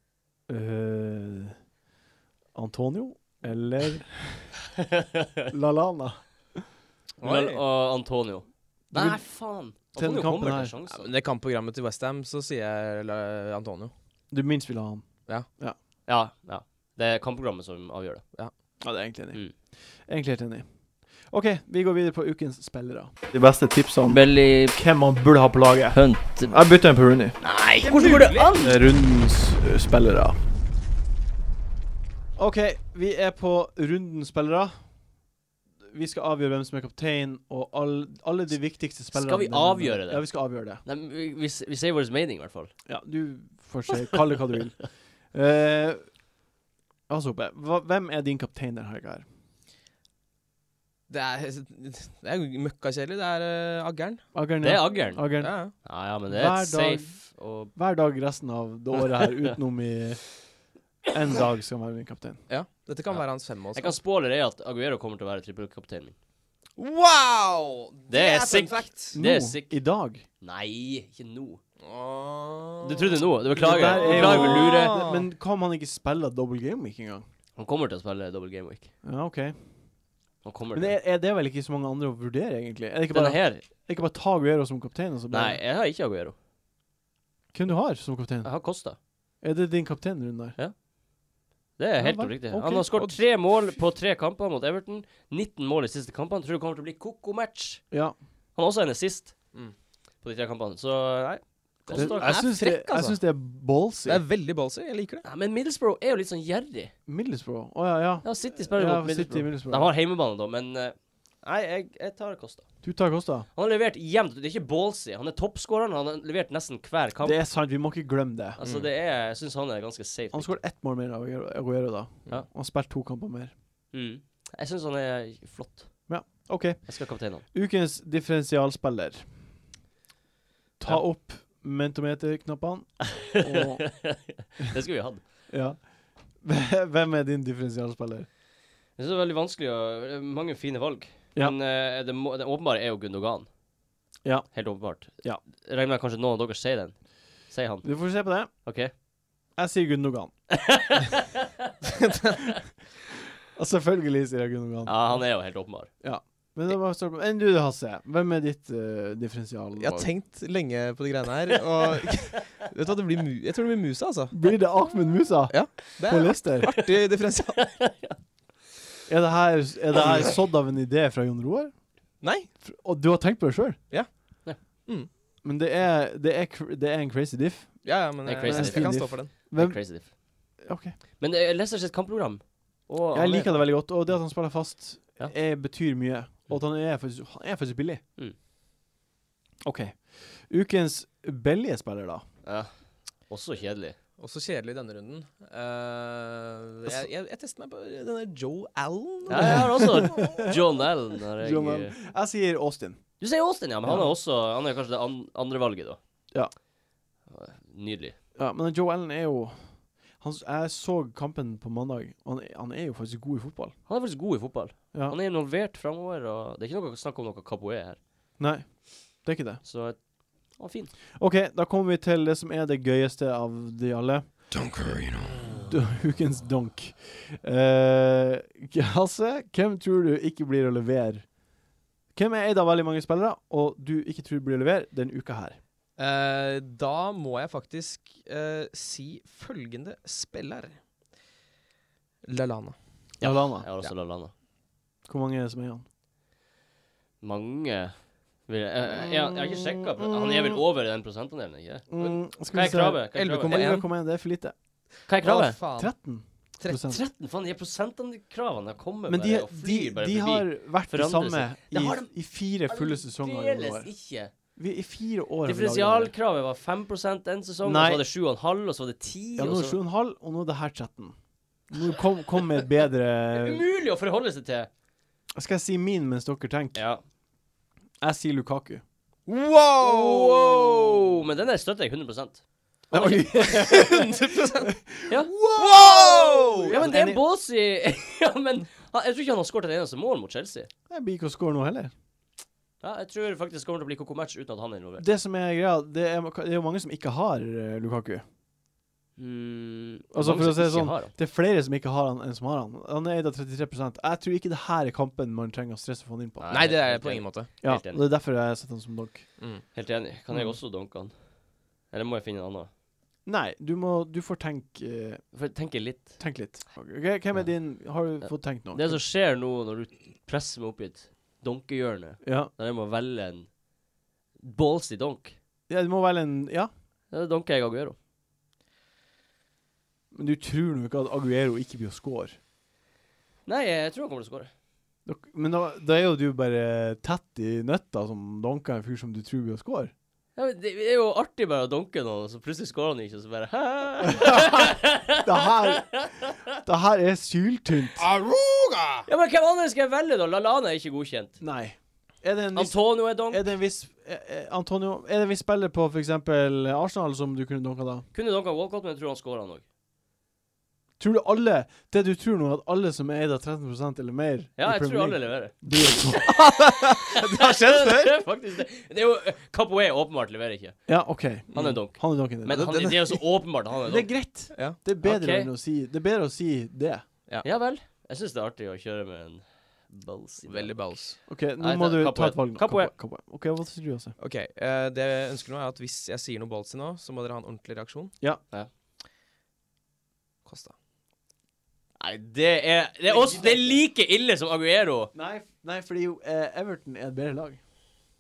Speaker 1: eh, Antonio eller Lalana.
Speaker 2: Vel,
Speaker 3: Oi.
Speaker 2: og Antonio.
Speaker 1: Du vil-
Speaker 2: Nei, faen.
Speaker 1: til den
Speaker 2: Antonio
Speaker 1: kampen
Speaker 2: kommer
Speaker 1: her.
Speaker 2: til
Speaker 3: Ja,
Speaker 2: sjanser.
Speaker 3: men det kampprogrammet til Westham, så sier jeg la- Antonio.
Speaker 1: Du minst vil ha han.
Speaker 2: Ja, ja. Det er kampprogrammet som avgjør det.
Speaker 1: Ja, det er egentlig
Speaker 2: enig.
Speaker 1: Mm. Egentlig helt enig. OK, vi går videre på ukens spillere. De beste tipsene
Speaker 2: Belly
Speaker 1: hvem man burde ha på laget.
Speaker 2: Hunt
Speaker 1: Jeg bytter en på Rooney.
Speaker 2: Nei, hvordan går det an?!
Speaker 1: Rundens ø, spillere. OK, vi er på rundens spillere. Vi skal avgjøre hvem som er kaptein, og all, alle de viktigste spillerne.
Speaker 2: Skal vi avgjøre det?
Speaker 1: Ja, vi skal avgjøre det.
Speaker 2: Nei, men vi, vi, s- vi sier vår mening, i hvert fall.
Speaker 1: Ja, du får se. Kall det hva du vil. Eh, altså, Hoppe, hva- hvem er din kaptein denne helga her?
Speaker 3: Det er, det er møkkakjedelig. Det er uh, aggeren.
Speaker 1: Agern,
Speaker 2: Det er
Speaker 1: ja.
Speaker 2: Aggern.
Speaker 1: Agern.
Speaker 3: Ja, ja.
Speaker 2: Ja, ja, men det er
Speaker 1: Hver
Speaker 2: et
Speaker 1: dag-
Speaker 2: safe og
Speaker 1: Hver dag resten av det året her, utenom i en dag, skal han være min kaptein.
Speaker 3: ja. Dette kan
Speaker 2: Ja.
Speaker 3: være hans femme også.
Speaker 2: Jeg kan spå allerede at Aguero kommer til å være trippelkapteinen min.
Speaker 3: Wow!
Speaker 2: Det er sick.
Speaker 3: fun fact.
Speaker 2: Det er
Speaker 1: Nå,
Speaker 2: sick.
Speaker 1: I dag.
Speaker 2: Nei, ikke nå.
Speaker 3: Åh.
Speaker 2: Du trodde nå?
Speaker 1: Det
Speaker 2: Du
Speaker 1: der
Speaker 2: beklager.
Speaker 1: er
Speaker 2: Du
Speaker 1: jo-
Speaker 2: beklager for lure.
Speaker 3: Ah.
Speaker 1: Men hva om han ikke spiller double game ikke engang?
Speaker 2: Han kommer til å spille double game week.
Speaker 1: Ja, OK.
Speaker 2: Han kommer
Speaker 1: Men
Speaker 2: til
Speaker 1: er, er det vel ikke så mange andre å vurdere, egentlig? Er det ikke
Speaker 2: Denne
Speaker 1: bare,
Speaker 2: her
Speaker 1: er det ikke bare ta Guero som kaptein? Og så
Speaker 2: Nei,
Speaker 1: bare,
Speaker 2: jeg har ikke Aguero.
Speaker 1: Hvem du har som kaptein?
Speaker 2: Jeg har Costa.
Speaker 1: Er det din kaptein, Rune? der?
Speaker 2: Det er helt
Speaker 1: Ja, vel.
Speaker 2: riktig.
Speaker 1: Ok.
Speaker 2: Han har skåret tre mål på tre kamper mot Everton. 19 mål i siste kampene. Tror det kommer til å bli koko-match.
Speaker 1: Ja.
Speaker 2: Han har også en assist
Speaker 3: Mm.
Speaker 2: på de tre kampene, så nei.
Speaker 1: Det,
Speaker 2: Costa
Speaker 1: jeg
Speaker 3: er
Speaker 1: syns det,
Speaker 3: frekk, altså.
Speaker 1: jeg syns det er ballsy.
Speaker 3: Det er veldig ballsy. Jeg liker det.
Speaker 2: ja, Men Middlesbrough er jo litt sånn gjerrig.
Speaker 1: Middlesbrough. Å ja, ja.
Speaker 2: Ja, City spiller
Speaker 1: Ja,
Speaker 2: mot
Speaker 1: City
Speaker 2: Middlesbrough.
Speaker 1: Middlesbrough.
Speaker 2: De har heimebane, da, men eh, Nei, jeg, jeg tar Costa.
Speaker 1: Du tar Kosta.
Speaker 2: Han har levert jevnt. Det er ikke ballsy. Han er toppskåreren. Han har levert nesten hver kamp.
Speaker 1: Det er sant, vi må ikke glemme det.
Speaker 2: Altså, det er Jeg syns han er ganske safe.
Speaker 1: Han skåret ett mål mer av Aguero- Aguero, da.
Speaker 2: Ja.
Speaker 1: Og han spilte to kamper mer.
Speaker 2: Mm. Jeg syns han er flott.
Speaker 1: OK.
Speaker 2: Jeg skal kapteine han.
Speaker 1: Ukens differensialspiller. Ta opp mentometerknappene. Og
Speaker 2: Det skulle vi hatt.
Speaker 1: ja. Hvem er din differensialspiller?
Speaker 2: Jeg synes det er veldig vanskelig å det er Mange fine valg.
Speaker 1: Ja.
Speaker 2: Men eh, det, må, det åpenbare er jo Gundogan.
Speaker 1: Ja.
Speaker 2: Helt åpenbart.
Speaker 1: Ja.
Speaker 2: Jeg Regner med kanskje noen av dere sier den. Sier han.
Speaker 1: Vi får se på det.
Speaker 2: OK?
Speaker 1: Jeg sier Gundogan. Og selvfølgelig sier jeg Gundogan.
Speaker 2: Ja, han er jo helt åpenbar.
Speaker 1: Men det var stort. Enn du, Hasse. Hvem er ditt eh, differensial?
Speaker 3: Jeg har tenkt lenge på de greiene her. Og vet du hva, det blir mu jeg tror det blir Musa, altså.
Speaker 1: Blir det Ahmed Musa
Speaker 3: Det
Speaker 1: på
Speaker 3: er
Speaker 1: Leicester?
Speaker 3: artig differensial.
Speaker 1: Er det her, er det her sådd av en idé fra Jon Roar?
Speaker 3: Nei.
Speaker 1: Fr- Og du har tenkt på det sjøl?
Speaker 3: Ja.
Speaker 2: Ja.
Speaker 3: Mm.
Speaker 1: Men det er, det, er, cr- det er en crazy diff.
Speaker 3: Ja, ja, men
Speaker 2: Det er
Speaker 3: jeg,
Speaker 2: crazy.
Speaker 3: jeg, kan stå for den.
Speaker 1: Hvem,
Speaker 2: Crazy diff.
Speaker 1: ok.
Speaker 2: Men uh, Leicester sitt kampprogram og
Speaker 1: Jeg liker det veldig godt. Og det at han spiller fast,
Speaker 2: Ja.
Speaker 1: er, betyr mye. Og at han er faktisk, han er faktisk billig.
Speaker 2: Mm.
Speaker 1: OK. Ukens billige spiller, da.
Speaker 2: Ja. Også kjedelig.
Speaker 3: Også kjedelig i denne runden. Eh, jeg, jeg, jeg tester meg på denne Joe Allen.
Speaker 2: Ja, jeg har også John Allen. Har jeg,
Speaker 1: John Allen. Jeg sier Austin.
Speaker 2: Du sier Austin, ja. Men han
Speaker 1: Ja.
Speaker 2: er også Han er kanskje det an andre valget, da.
Speaker 1: Ja.
Speaker 2: Nydelig.
Speaker 1: Ja, men Joe Allen er jo han, s- Jeg så kampen på mandag, og han, er- han er jo faktisk god i fotball.
Speaker 2: Han er faktisk god i fotball.
Speaker 1: Ja.
Speaker 2: Han er involvert framover, og det er ikke noe snakk om noe capoe her.
Speaker 1: Nei, det er ikke det.
Speaker 2: Så han er fin.
Speaker 1: OK, da kommer vi til det som er det gøyeste av de alle. D- Ukens donk. Eh, Hasse, hvem tror du ikke blir å levere? Hvem er eid av veldig mange spillere, og du ikke tror blir å levere denne uka her?
Speaker 3: Eh, da må jeg faktisk eh, si følgende spiller. Lalana.
Speaker 2: Ja.
Speaker 1: Lallana.
Speaker 2: Jeg har også Lallana.
Speaker 1: Hvor mange er det som er han?
Speaker 2: Mange vil jeg, jeg, jeg, har ikke sjekka Han er vel over den prosentandelen, ikke
Speaker 1: Mm.
Speaker 2: det? Hva er kravet? Hva er kravet?
Speaker 3: 11,1.
Speaker 1: 11,1. Det er for lite.
Speaker 2: Hva er kravet?
Speaker 3: Å, faen.
Speaker 1: 13
Speaker 2: 13, faen, de prosentandekravene kommer
Speaker 1: sånn. Men de,
Speaker 2: bare og
Speaker 1: de,
Speaker 2: flyr bare
Speaker 1: de har vært det
Speaker 2: Forandrer
Speaker 1: samme
Speaker 2: seg.
Speaker 1: i,
Speaker 2: Det har de
Speaker 1: i fire fulle sesonger. i år.
Speaker 2: Fremdeles ikke.
Speaker 1: Vi, I fire år har vi laget det.
Speaker 2: Differensialkravet var 5 en sesong,
Speaker 1: Nei.
Speaker 2: og så var det 7,5, og så var det 10
Speaker 1: Ja, nå
Speaker 2: og
Speaker 1: er det
Speaker 2: så...
Speaker 1: 7,5, og nå er det her 13. Nå kom, kom med et bedre
Speaker 2: Umulig å forholde seg til!
Speaker 1: Skal jeg si min mens dere tenker?
Speaker 2: Ja.
Speaker 1: Jeg sier Lukaku.
Speaker 2: Wow! Men den der støtter jeg 100 Han er ikke-
Speaker 3: 100
Speaker 2: Ja.
Speaker 3: Wow!
Speaker 2: Ja,
Speaker 1: sånn
Speaker 2: men det er bås i Ja, men han, Jeg tror ikke han har skåret et eneste mål mot Chelsea.
Speaker 1: Jeg blir ikke å score nå heller.
Speaker 2: Ja, jeg tror faktisk det kommer til å bli koko match uten at han er involvert.
Speaker 1: Det som er greia, det er, det er jo mange som ikke har eh, Lukaku.
Speaker 2: Mm,
Speaker 1: Altså,
Speaker 2: mange
Speaker 1: for å si
Speaker 2: som
Speaker 1: det
Speaker 2: ikke
Speaker 1: sånn,
Speaker 2: har han.
Speaker 1: Det er flere som ikke har han, enn som har han. Han er eid av 33 Jeg tror ikke det her er kampen man trenger å stresse for han inn på.
Speaker 3: Nei, det er
Speaker 2: helt
Speaker 3: på
Speaker 2: enig.
Speaker 3: ingen måte.
Speaker 1: Ja,
Speaker 2: helt enig.
Speaker 1: og Det er derfor jeg setter han som donk.
Speaker 2: Helt enig. Kan
Speaker 1: Mm.
Speaker 2: jeg også dunke han? Eller må jeg finne en annen?
Speaker 1: Nei, du må Du får tenke eh,
Speaker 2: For jeg tenker litt.
Speaker 1: Tenk litt. Ok, hvem er din Har du fått tenkt noe?
Speaker 2: Det som skjer nå når du presser meg opp i et donkehjørne,
Speaker 1: Ja.
Speaker 2: der jeg må velge en ballsy donk,
Speaker 1: ja, du må velge en Ja.
Speaker 2: da donker jeg Aguero.
Speaker 1: Men du tror nå ikke at Aguero ikke blir å score?
Speaker 2: Nei, jeg tror han kommer til å skåre.
Speaker 1: Dok- Men da, da er jo du bare tett i nøtta som donker en fyr som du tror blir å score.
Speaker 2: Ja, men det det er jo artig bare å donke noen, og så plutselig skårer han ikke, og så bare Hæ?
Speaker 1: Det her Det her er syltynt.
Speaker 2: Ja, men hvem andre skal jeg velge, da? Lallana er ikke godkjent.
Speaker 1: Nei. Er det en viss
Speaker 2: Antonio er donk.
Speaker 1: Er det en viss eh, eh, Antonio, er det en viss spiller på f.eks. Arsenal som du kunne donka da?
Speaker 2: Kunne donka Walcott, men jeg tror han skårer han òg.
Speaker 1: Tror du alle Det du tror nå, er at alle som er eid av 13 eller mer
Speaker 2: Ja,
Speaker 1: i
Speaker 2: jeg
Speaker 1: Premier
Speaker 2: tror alle
Speaker 1: League, blir
Speaker 2: leverer.
Speaker 1: å score.
Speaker 2: Det har skjedd før? det er faktisk det. Det er jo Capoe åpenbart leverer ikke.
Speaker 1: Ja, OK.
Speaker 2: Han er donk.
Speaker 1: Han er donken din.
Speaker 2: Men han, det er jo så åpenbart han er
Speaker 1: det er
Speaker 2: donk.
Speaker 1: greit.
Speaker 3: Ja.
Speaker 1: Det er bedre
Speaker 2: Ok.
Speaker 1: enn å si Det er bedre å si det.
Speaker 2: Ja vel. Jeg syns det er artig å kjøre med en balls. i dag.
Speaker 3: Veldig balls.
Speaker 1: OK, nå
Speaker 2: Nei,
Speaker 1: må du
Speaker 2: det-
Speaker 1: ta
Speaker 2: Capoe.
Speaker 1: et valg nå.
Speaker 2: Capoe.
Speaker 1: Capoe. OK, hva sier du, Åse?
Speaker 3: Ok, eh, det jeg ønsker nå er at hvis jeg sier noe ballsy nå, så må dere ha en ordentlig reaksjon.
Speaker 1: Ja.
Speaker 2: Ja.
Speaker 3: Kosta.
Speaker 2: Nei, det er det er, også, det er like ille som Aguero.
Speaker 1: Nei, nei, fordi jo, eh, Everton er et bedre lag.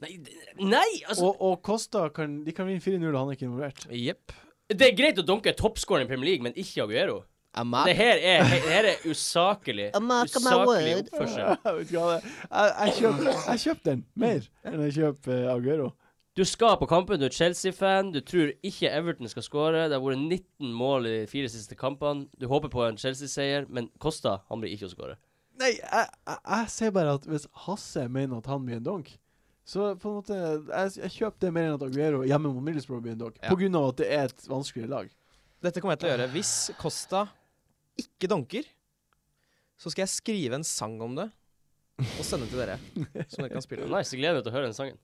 Speaker 2: Nei, det- nei altså
Speaker 1: Og, og Costa kan De kan vinne 4-0, og han er ikke involvert.
Speaker 3: Jepp.
Speaker 2: Det er greit å donke toppskåreren i Premier League, men ikke Aguero.
Speaker 3: Amma.
Speaker 2: Det her er, he- det her er usakelig. Usakelig oppførsel.
Speaker 1: Jeg vet ikke hva det er. Jeg, jeg kjøper jeg kjøper den mer enn jeg kjøper eh, Aguero.
Speaker 2: Du skal på kampen, du er Chelsea-fan. Du tror ikke Everton skal skåre. Det har vært 19 mål i de fire siste kampene. Du håper på en Chelsea-seier, men Costa han blir ikke å skåre.
Speaker 1: Nei, jeg, jeg, jeg ser bare at hvis Hasse mener at han blir en donk, så på en måte Jeg, jeg kjøper det mer enn at Aguero hjemme mot Middlesbrough blir en donk.
Speaker 3: Ja.
Speaker 1: På grunn av at det er et vanskeligere lag.
Speaker 3: Dette kommer jeg til å gjøre. Hvis Kosta ikke donker, så skal jeg skrive en sang om det og sende den til dere. Som dere kan spille.
Speaker 2: Nice, jeg gleder meg til å høre den sangen.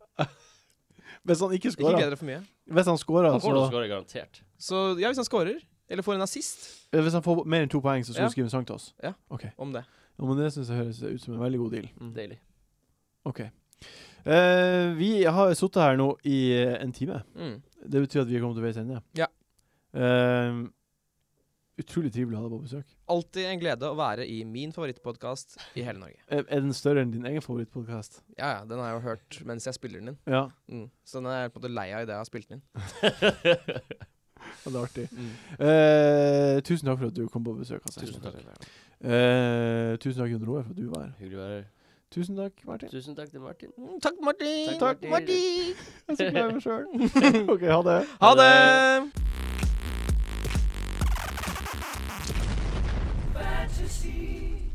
Speaker 1: Hvis han ikke
Speaker 3: Ikke gled
Speaker 1: scorer
Speaker 3: dere for mye.
Speaker 1: Hvis han scorer,
Speaker 2: Han kommer til å
Speaker 1: så
Speaker 2: skåre garantert.
Speaker 3: Så ja, hvis han scorer, eller får en assist
Speaker 1: Hvis han får mer enn to poeng, så skal
Speaker 3: Ja.
Speaker 1: du skrive en sang til oss.
Speaker 3: Ja.
Speaker 1: OK.
Speaker 3: om det.
Speaker 1: Ja, men det syns jeg høres ut som en veldig god deal.
Speaker 3: Mm.
Speaker 2: Deilig.
Speaker 1: OK. Eh, vi har sittet her nå i eh, en time.
Speaker 3: Mm.
Speaker 1: Det betyr at vi er kommet til veis ende.
Speaker 3: Ja.
Speaker 1: Eh, utrolig trivelig å ha deg på besøk.
Speaker 3: Alltid en glede å være i min favorittpodkast i hele Norge.
Speaker 1: Er, er den større enn din egen favorittpodkast?
Speaker 3: Ja, ja, den har jeg jo hørt mens jeg spiller den inn.
Speaker 1: Ja,
Speaker 3: Mm. Så den er jeg på en måte lei av idet jeg har spilt den inn.
Speaker 1: det er artig.
Speaker 3: Mm.
Speaker 1: Eh, tusen takk for at du kom på besøk. Hasse.
Speaker 2: Tusen takk.
Speaker 1: Eh, tusen takk, Jon Roar, for at du var her.
Speaker 2: Hyggelig å være her.
Speaker 1: Tusen takk, Martin.
Speaker 2: Tusen takk til Martin.
Speaker 3: Mm, Takk, Martin!
Speaker 2: Takk, Martin.
Speaker 1: Jeg er så glad i meg sjøl. OK, ha det.
Speaker 3: Ha det!
Speaker 6: fantasy.